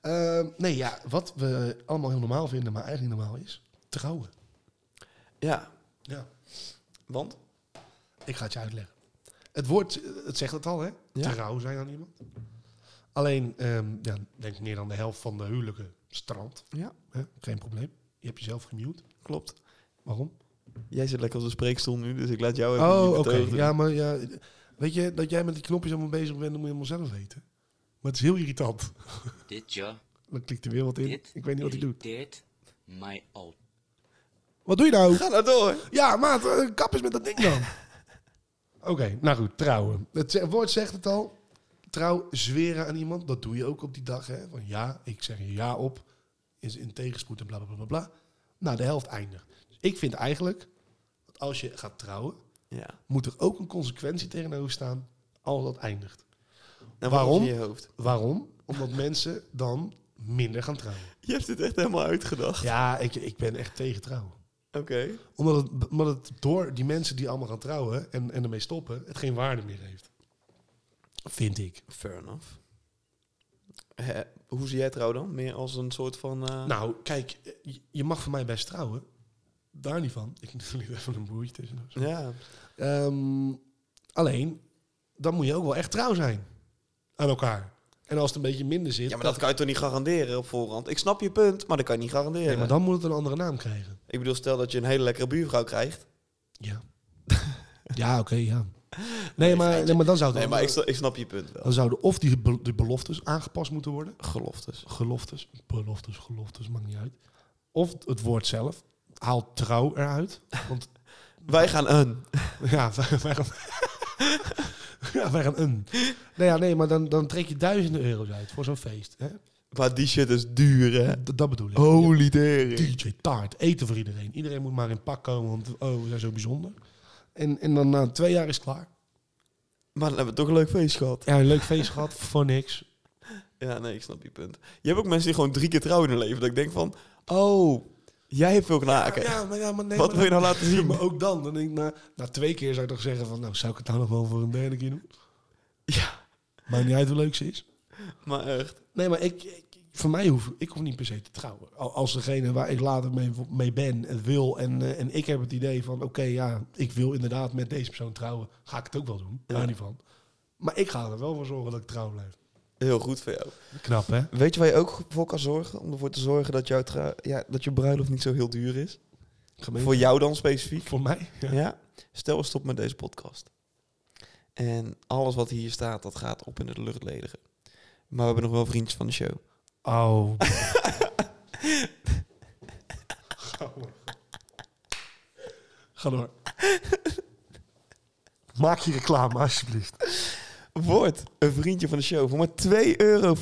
Speaker 1: Ehm, nee, ja, wat we allemaal heel normaal vinden, maar eigenlijk niet normaal is, trouwen.
Speaker 2: Ja,
Speaker 1: Ja.
Speaker 2: want?
Speaker 1: Ik ga het je uitleggen. Het woord, eh, het zegt het al, hè?
Speaker 2: Ja.
Speaker 1: Trouw zijn aan iemand. Alleen, ehm, ja, ik denk meer dan de helft van de huwelijken strand.
Speaker 2: Ja,
Speaker 1: Hè? Geen probleem. Je hebt jezelf gemute.
Speaker 2: klopt.
Speaker 1: Waarom?
Speaker 2: Jij zit lekker op de spreekstoel nu, dus ik laat jou even
Speaker 1: Oh,
Speaker 2: niet
Speaker 1: oké.
Speaker 2: betogen.
Speaker 1: Ja, maar ja, weet je, dat jij met die knopjes allemaal bezig bent, dat moet je allemaal zelf weten. Maar het is heel irritant.
Speaker 4: Dit ja,
Speaker 1: Dan klikt er weer wat in.
Speaker 4: dit
Speaker 1: Ik weet niet wat hij doet.
Speaker 4: irriteert mij al.
Speaker 1: Wat doe je nou?
Speaker 2: <laughs> Ga nou door.
Speaker 1: Ja, maat, eh, kap eens met dat ding dan. <laughs> Oké, nou goed, trouwen. Het ze- woord zegt het al. Trouw, zweren aan iemand, dat doe je ook op die dag. Hè? Van ja, ik zeg je ja op, is in tegenspoed en bla bla bla bla, bla. Nou, de helft eindigt. Dus ik vind eigenlijk, dat als je gaat trouwen,
Speaker 2: Ja.
Speaker 1: moet er ook een consequentie tegenover staan als dat eindigt.
Speaker 2: En
Speaker 1: Waarom?
Speaker 2: In je hoofd.
Speaker 1: Waarom? Omdat <laughs> mensen dan minder gaan trouwen.
Speaker 2: Je hebt dit echt helemaal uitgedacht.
Speaker 1: Ja, ik, ik ben echt tegen trouwen.
Speaker 2: Oké.
Speaker 1: Omdat het, omdat het door die mensen die allemaal gaan trouwen en, en ermee stoppen, het geen waarde meer heeft. Vind ik.
Speaker 2: Fair enough. Hè, hoe zie jij trouw dan? Meer als een soort van... eh,
Speaker 1: Nou, kijk, je- je mag van mij best trouwen. Daar niet van. Ik <laughs> doe nu even een boertje tussen.
Speaker 2: Ja.
Speaker 1: Ehm, alleen, dan moet je ook wel echt trouw zijn aan elkaar. En als het een beetje minder zit,
Speaker 2: ja, maar dat kan je toch niet garanderen op voorhand? Ik snap je punt, maar dat kan je niet garanderen.
Speaker 1: Nee, maar dan moet het een andere naam krijgen.
Speaker 2: Ik bedoel, stel dat je een hele lekkere buurvrouw krijgt. <laughs>
Speaker 1: Ja. ja, oké, ja. Nee, maar, nee, maar dan zou het
Speaker 2: Nee, maar
Speaker 1: andere-
Speaker 2: ik, sta- ik snap je punt wel.
Speaker 1: dan zouden of die, be- die beloftes aangepast moeten worden.
Speaker 2: Geloftes.
Speaker 1: geloftes, beloftes, geloftes, maakt niet uit. Of het woord zelf. Haal trouw eruit. Want <laughs>
Speaker 2: Wij gaan een.
Speaker 1: ja, wij, wij gaan. <laughs> ja, wij gaan een. Nee, ja, nee maar dan, dan trek je duizenden euro's uit voor zo'n feest. Hè?
Speaker 2: Maar die shit is duur, hè?
Speaker 1: D- dat bedoel ik.
Speaker 2: Holy dering.
Speaker 1: DJ taart, eten voor iedereen. Iedereen moet maar in pak komen, want oh, we zijn zo bijzonder. En, en dan na twee jaar is het klaar.
Speaker 2: Maar dan hebben we toch een leuk feest gehad.
Speaker 1: Ja, een <laughs> leuk feest gehad, voor niks.
Speaker 2: Ja, nee, ik snap je punt. Je hebt ook mensen die gewoon drie keer trouwen in hun leven. Dat ik denk van, oh, jij hebt veel knaken.
Speaker 1: Ja, maar, ja, maar nee,
Speaker 2: Wat
Speaker 1: maar
Speaker 2: wil je
Speaker 1: dan-
Speaker 2: nou laten
Speaker 1: <laughs>
Speaker 2: zien?
Speaker 1: Maar ook dan, dan denk ik, na, na twee keer zou ik toch zeggen van... nou, zou ik het nou nog wel voor een derde keer doen?
Speaker 2: Ja,
Speaker 1: Maakt niet uit hoe leuk ze is.
Speaker 2: maar echt.
Speaker 1: Nee, maar ik, ik, voor mij hoef ik hoef niet per se te trouwen. Al- Als degene waar ik later mee, mee ben, het wil en, eh, en ik heb het idee van... oké, ja, ik wil inderdaad met deze persoon trouwen. Ga ik het ook wel doen, daar niet van. Maar ik ga er wel voor zorgen dat ik trouw blijf.
Speaker 2: Heel goed voor jou.
Speaker 1: Knap, hè?
Speaker 2: Weet je waar je ook voor kan zorgen? Om ervoor te zorgen dat, jouw trou- ja, dat je bruiloft niet zo heel duur is.
Speaker 1: Gemeente.
Speaker 2: Voor jou dan specifiek.
Speaker 1: Voor mij? Ja.
Speaker 2: Ja. Stel, we stoppen met deze podcast. En alles wat hier staat, dat gaat op in het luchtledige. Maar we hebben nog wel vriendjes van de show.
Speaker 1: Oh. Ga door. Maak je reclame, alsjeblieft.
Speaker 2: Word een vriendje van de show. Voor maar 2,50 euro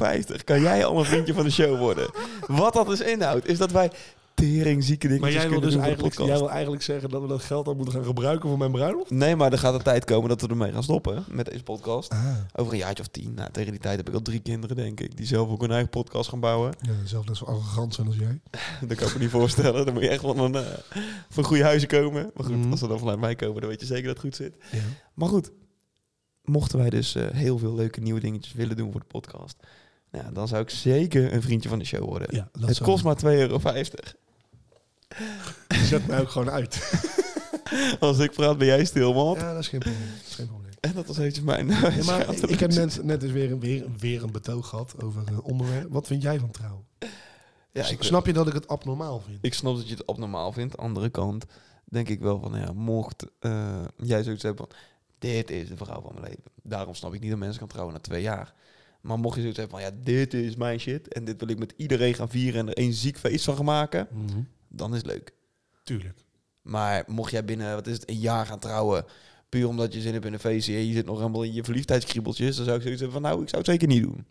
Speaker 2: kan jij al een vriendje van de show worden. Wat dat dus inhoudt, is dat wij teringzieke
Speaker 1: Maar
Speaker 2: dingetjes
Speaker 1: jij wil dus
Speaker 2: kunnen doen voor de
Speaker 1: eigenlijk,
Speaker 2: podcast.
Speaker 1: jij wil eigenlijk zeggen dat we dat geld dan moeten gaan gebruiken voor mijn bruiloft?
Speaker 2: Nee, maar er gaat een tijd komen dat we ermee gaan stoppen met deze podcast.
Speaker 1: Ah,
Speaker 2: Over een jaartje of tien. Nou, tegen die tijd heb ik al drie kinderen, denk ik. Die zelf ook een eigen podcast gaan bouwen.
Speaker 1: Ja, zelf net zo arrogant zijn als jij.
Speaker 2: Dat kan ik me niet voorstellen. Dan moet je echt van een, eh, van goede huizen komen. Maar goed,
Speaker 1: Mhm.
Speaker 2: als ze dan vanuit mij komen, dan weet je zeker dat het goed zit.
Speaker 1: Ja.
Speaker 2: Maar goed, mochten wij dus eh, heel veel leuke nieuwe dingetjes willen doen voor de podcast... Nou, dan zou ik zeker een vriendje van de show worden.
Speaker 1: Ja, dat
Speaker 2: het
Speaker 1: zou-
Speaker 2: kost maar 2,50 euro.
Speaker 1: Zet mij ook gewoon uit.
Speaker 2: Als ik praat, ben jij stil, man.
Speaker 1: Ja, dat is geen probleem. Dat is geen probleem.
Speaker 2: En dat was eventjes mijn... eh,
Speaker 1: Ja, maar ik, ik heb net, net eens weer, een- weer, een- weer een betoog gehad over een onderwerp. Wat vind jij van trouw?
Speaker 2: Ja, ik- eh,
Speaker 1: Snap je dat ik het abnormaal vind?
Speaker 2: Ik snap dat je het abnormaal vindt. Andere kant denk ik wel van, nou ja, mocht eh, jij zoiets hebben van... Dit is de vrouw van mijn leven. Daarom snap ik niet dat mensen kan trouwen na twee jaar. Maar mocht je zoiets hebben van, ja, dit is mijn shit... en dit wil ik met iedereen gaan vieren en er één ziek feest van gaan maken...
Speaker 1: Mhm.
Speaker 2: dan is het leuk.
Speaker 1: Tuurlijk.
Speaker 2: Maar mocht jij binnen, wat is het, een jaar gaan trouwen... puur omdat je zin hebt in een feestje... en je zit nog helemaal in je verliefdheidskriebeltjes... dan zou ik zoiets hebben van, nou, ik zou het zeker niet doen.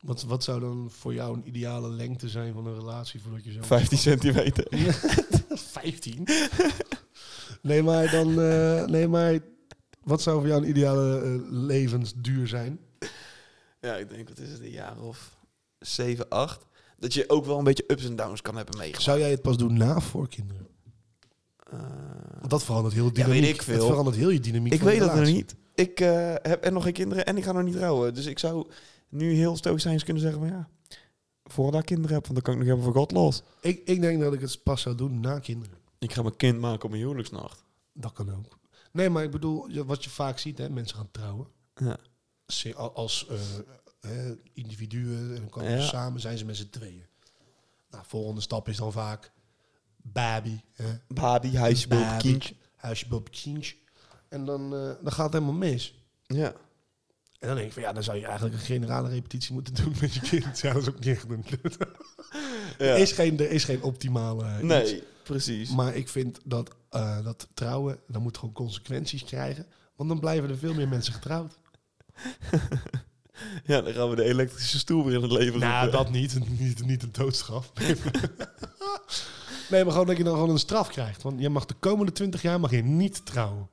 Speaker 1: Wat, wat zou dan voor jou een ideale lengte zijn van een relatie voordat je zo... <laughs>
Speaker 2: 15 centimeter.
Speaker 1: 15? nee, maar dan... eh, nee, maar wat zou voor jou een ideale eh, levensduur zijn?
Speaker 2: Ja, ik denk, wat is het, een jaar of 7, 8. Dat je ook wel een beetje ups en downs kan hebben meegemaakt. Eh,
Speaker 1: Zou jij het pas doen na voor kinderen? Want dat verandert heel dynamiek.
Speaker 2: weet ik veel.
Speaker 1: Het verandert heel je dynamiek.
Speaker 2: Ik
Speaker 1: van je
Speaker 2: weet dat nog
Speaker 1: relatie.
Speaker 2: niet. Ik eh, heb en nog geen kinderen en ik ga nog niet trouwen. Dus ik zou nu heel stoïcijns kunnen zeggen van ja, voordat ik kinderen heb, want dan kan ik nog hebben voor God los.
Speaker 1: Ik, ik denk dat ik het pas zou doen na kinderen.
Speaker 2: Ik ga mijn kind maken op mijn huwelijksnacht.
Speaker 1: Dat kan ook. Nee, maar ik bedoel, je- wat je vaak ziet, hè, mensen gaan trouwen.
Speaker 2: Ja.
Speaker 1: Ze- al- Als eh, hè, individuen en dan komen
Speaker 2: Ja.
Speaker 1: ze samen, zijn ze met z'n tweeën. Nou, volgende stap is dan vaak baby. Hè?
Speaker 2: Baby, huisje, boven,
Speaker 1: Baby.
Speaker 2: kindje.
Speaker 1: Huisje, bob, kindje. En dan, eh, dan gaat het helemaal mis.
Speaker 2: Ja.
Speaker 1: En dan denk ik van ja, dan zou je eigenlijk een generale repetitie moeten doen met je kind. <laughs> Ja, dat is ook niet echt een.
Speaker 2: Ja.
Speaker 1: Er, is geen, er is geen optimale. eh, iets.
Speaker 2: Nee, precies.
Speaker 1: Maar ik vind dat, eh, dat trouwen, dat moet gewoon consequenties krijgen. Want dan blijven er veel meer mensen getrouwd.
Speaker 2: Ja, dan gaan we de elektrische stoel weer in het
Speaker 1: <laughs>
Speaker 2: leven
Speaker 1: Nou,
Speaker 2: roepen.
Speaker 1: dat niet. <laughs> Niet, niet een doodstraf. <laughs> nee, maar gewoon dat je dan gewoon een straf krijgt. Want je mag de komende 20 jaar mag je niet trouwen.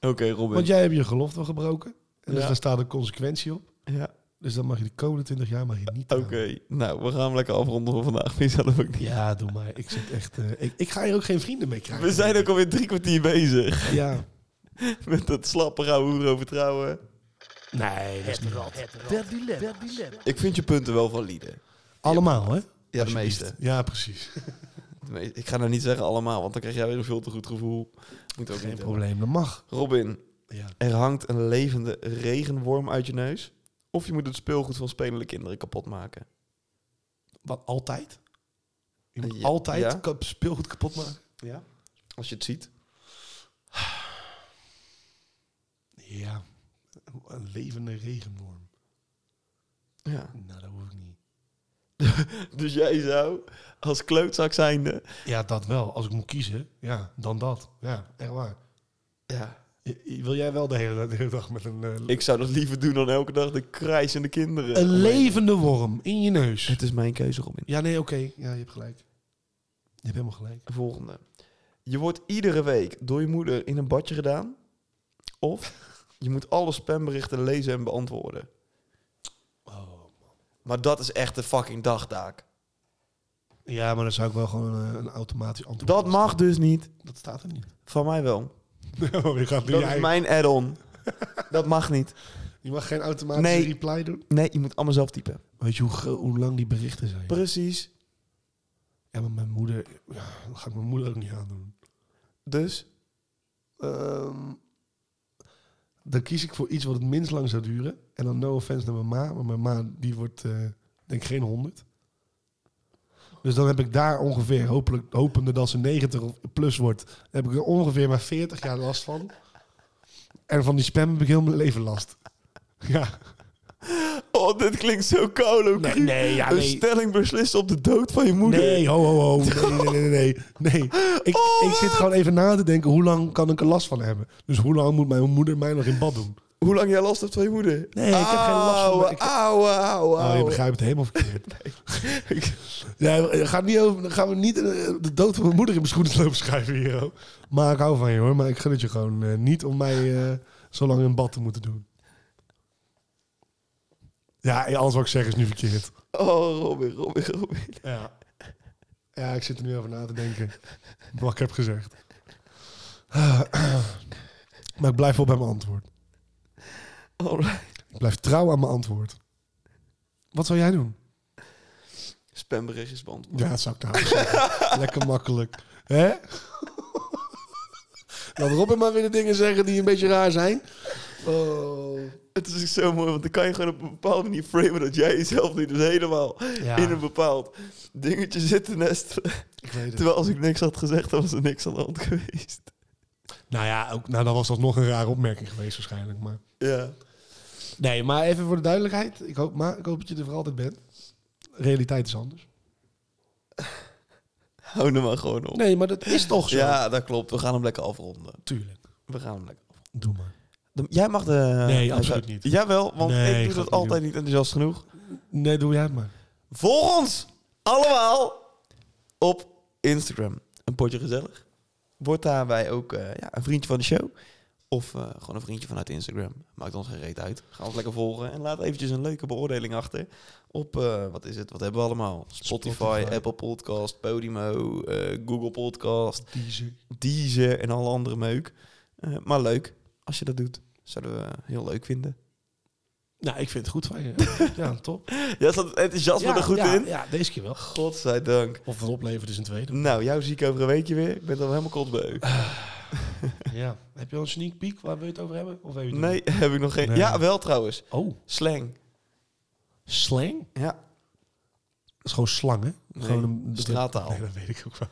Speaker 2: Oké, Robin.
Speaker 1: Want jij hebt je gelofte wel gebroken. En dus
Speaker 2: Ja.
Speaker 1: daar staat een consequentie op.
Speaker 2: Ja,
Speaker 1: Dus dan mag je de komende 20 jaar mag je niet
Speaker 2: oké.
Speaker 1: trouwen.
Speaker 2: Nou, we gaan hem lekker afronden voor vandaag. Vind je zelf ook niet.
Speaker 1: Ja, doe maar. Ik zit echt. eh, ik, ik ga hier ook geen vrienden mee krijgen.
Speaker 2: We zijn ook alweer drie kwartier bezig
Speaker 1: Ja.
Speaker 2: met dat slappe rauwe hoer over trouwen.
Speaker 1: Nee, dat is niet waar.
Speaker 2: Ik vind je punten wel valide.
Speaker 1: Allemaal, hè?
Speaker 2: Ja, de
Speaker 1: Alsjeblieft.
Speaker 2: meeste.
Speaker 1: Ja, precies.
Speaker 2: De meeste. Ik ga nou niet zeggen allemaal, want dan krijg jij weer een veel te goed gevoel. Moet ook
Speaker 1: Geen
Speaker 2: niet
Speaker 1: probleem, dat mag.
Speaker 2: hebben. Robin,
Speaker 1: Ja.
Speaker 2: er hangt een levende regenworm uit je neus. Of je moet het speelgoed van spelende kinderen kapot maken.
Speaker 1: Wat, altijd? Je moet
Speaker 2: Ja,
Speaker 1: altijd
Speaker 2: ja.
Speaker 1: kap- speelgoed kapot maken?
Speaker 2: Ja. Als je het ziet.
Speaker 1: Ja. Een levende regenworm.
Speaker 2: Ja.
Speaker 1: Nou, dat hoef ik niet.
Speaker 2: Dus jij zou, als kleutzak zijnde...
Speaker 1: Ja, dat wel. Als ik moet kiezen, ja, dan dat. Ja, echt waar.
Speaker 2: Ja.
Speaker 1: Je- je- Wil jij wel de hele, de hele dag met een... eh,
Speaker 2: Ik zou dat liever doen dan elke dag de krijsende kinderen.
Speaker 1: een levende worm in je neus?
Speaker 2: Het is mijn keuze, Robin.
Speaker 1: Ja, nee, oké. Ja, je hebt gelijk. Je hebt helemaal gelijk.
Speaker 2: Volgende. Je wordt iedere week door je moeder in een badje gedaan. Of je moet alle spamberichten lezen en beantwoorden.
Speaker 1: Oh.
Speaker 2: Maar dat is echt de fucking dagtaak.
Speaker 1: Ja, maar dan zou ik wel gewoon eh, een automatisch antwoord...
Speaker 2: Dat mag dus niet.
Speaker 1: Dat staat er <laughs> niet.
Speaker 2: Van mij wel.
Speaker 1: Oh, je, gaat nu
Speaker 2: Dat
Speaker 1: je,
Speaker 2: is
Speaker 1: eigen-
Speaker 2: mijn
Speaker 1: <laughs>
Speaker 2: add-on. Dat mag niet.
Speaker 1: je mag geen automatische
Speaker 2: Nee.
Speaker 1: reply doen.
Speaker 2: Nee, je moet allemaal zelf typen.
Speaker 1: Weet je hoe, gro- hoe lang die berichten zijn?
Speaker 2: Precies.
Speaker 1: Ja, maar mijn moeder... Ja, dat ga ik mijn moeder ook niet aandoen.
Speaker 2: Dus,
Speaker 1: Ehm, dan kies ik voor iets wat het minst lang zou duren. En dan no offense naar mijn ma. Maar mijn ma, die wordt eh, denk ik geen 100. Dus dan heb ik daar ongeveer, hopelijk, hopende dat ze 90 of plus wordt... heb ik er ongeveer maar 40 jaar last van. En van die spam heb ik heel mijn leven last. Ja.
Speaker 2: oh, dit klinkt zo koud.
Speaker 1: Nee, nee, ja, nee.
Speaker 2: Een stelling beslist op de dood van je moeder.
Speaker 1: Nee, ho, ho, ho. Nee, nee, nee, nee. nee.
Speaker 2: <laughs>
Speaker 1: Nee. Ik,
Speaker 2: Oh,
Speaker 1: ik zit
Speaker 2: wat?
Speaker 1: gewoon even na te denken, hoe lang kan ik er last van hebben? Dus hoe lang moet mijn moeder mij nog in bad doen?
Speaker 2: Hoe lang jij last hebt van je moeder?
Speaker 1: Nee, ik heb geen last van-
Speaker 2: Auwe,
Speaker 1: ik-
Speaker 2: auwe, auwe,
Speaker 1: Oh, je
Speaker 2: auwe.
Speaker 1: begrijpt het helemaal
Speaker 2: <laughs>
Speaker 1: verkeerd. <laughs> Ja, ga niet over, dan gaan we niet eh, de dood van mijn moeder in mijn schoenen lopen schuiven hier. hoor. Maar ik hou van je hoor, maar ik gun het je gewoon eh, niet om mij eh, zo lang in bad te moeten doen. Ja, eh, alles wat ik zeg is nu verkeerd.
Speaker 2: Oh, Robin, Robin, Robin.
Speaker 1: Ja. Ja, ik zit er nu over na te denken. <laughs> Wat ik heb gezegd. <clears throat> Maar ik blijf wel bij mijn antwoord.
Speaker 2: Alright.
Speaker 1: Ik blijf trouw aan mijn antwoord. Wat zou jij doen?
Speaker 2: Spamberichtjes beantwoorden.
Speaker 1: Ja, dat zou ik daar ook <laughs> zeggen. Lekker makkelijk. Hè? <laughs> Laat Robin maar weer de dingen zeggen die een beetje raar zijn. Oh.
Speaker 2: Het is ook zo mooi, want dan kan je gewoon op een bepaalde manier framen dat jij jezelf nu dus helemaal
Speaker 1: Ja.
Speaker 2: in een bepaald dingetje zit
Speaker 1: <laughs>
Speaker 2: te nestelen.
Speaker 1: Ik weet het.
Speaker 2: Terwijl als ik niks had gezegd, dan was er niks aan de hand geweest.
Speaker 1: Nou ja, ook, nou, dan was dat nog een rare opmerking geweest waarschijnlijk. Maar...
Speaker 2: Ja.
Speaker 1: Nee, maar even voor de duidelijkheid. Ik hoop, maar, ik hoop dat je er voor altijd bent. Realiteit is anders.
Speaker 2: Hou er maar gewoon op.
Speaker 1: Nee, maar dat is toch zo.
Speaker 2: ja, dat klopt. We gaan hem lekker afronden.
Speaker 1: Tuurlijk.
Speaker 2: We gaan hem lekker afronden.
Speaker 1: Doe maar.
Speaker 2: Dan- Jij mag de...
Speaker 1: Nee, absoluut niet.
Speaker 2: Jawel, want
Speaker 1: Nee,
Speaker 2: ik
Speaker 1: ik ga
Speaker 2: doe dat
Speaker 1: het niet
Speaker 2: altijd niet enthousiast genoeg.
Speaker 1: Nee, doe jij het maar.
Speaker 2: Volg ons allemaal op Instagram. Een potje gezellig. Word daarbij ook eh, ja, een vriendje van de show. Of eh, gewoon een vriendje vanuit Instagram. Maakt ons geen reet uit. Ga ons lekker volgen. En laat eventjes een leuke beoordeling achter. Op, eh, wat is het? Wat hebben we allemaal? Spotify,
Speaker 1: Spotify.
Speaker 2: Apple Podcast, Podimo, eh, Google Podcast,
Speaker 1: Deezer.
Speaker 2: Deezer en alle andere meuk. Eh, maar leuk, als je dat doet. Zouden we heel leuk vinden.
Speaker 1: Nou, ik vind het goed van je. <laughs> ja, top.
Speaker 2: Jij zat enthousiasme
Speaker 1: ja,
Speaker 2: er goed
Speaker 1: ja,
Speaker 2: in.
Speaker 1: Ja, deze keer wel.
Speaker 2: Godzijdank.
Speaker 1: Of het oplevert is een tweede.
Speaker 2: Nou, jou zie ik over een weekje weer. Ik ben dan helemaal kotsbeu.
Speaker 1: Ah, Ja. Heb je al een sneak peek waar we het over hebben? Of weet je het
Speaker 2: Nee, <laughs> heb ik nog geen.
Speaker 1: Nee.
Speaker 2: Ja, wel trouwens.
Speaker 1: nog niet? Oh,
Speaker 2: Slang.
Speaker 1: slang?
Speaker 2: Ja.
Speaker 1: Dat is gewoon slangen. gewoon een
Speaker 2: straattaal.
Speaker 1: Nee, dat weet ik ook wel.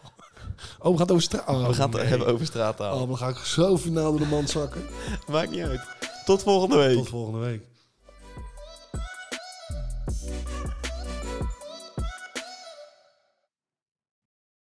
Speaker 1: Oh, we gaan het over straat.
Speaker 2: We gaan het
Speaker 1: nee.
Speaker 2: hebben over straattaal.
Speaker 1: Oh, dan ga ik zo finaal door de mand zakken.
Speaker 2: Maakt niet uit. Tot volgende week.
Speaker 1: Tot volgende week.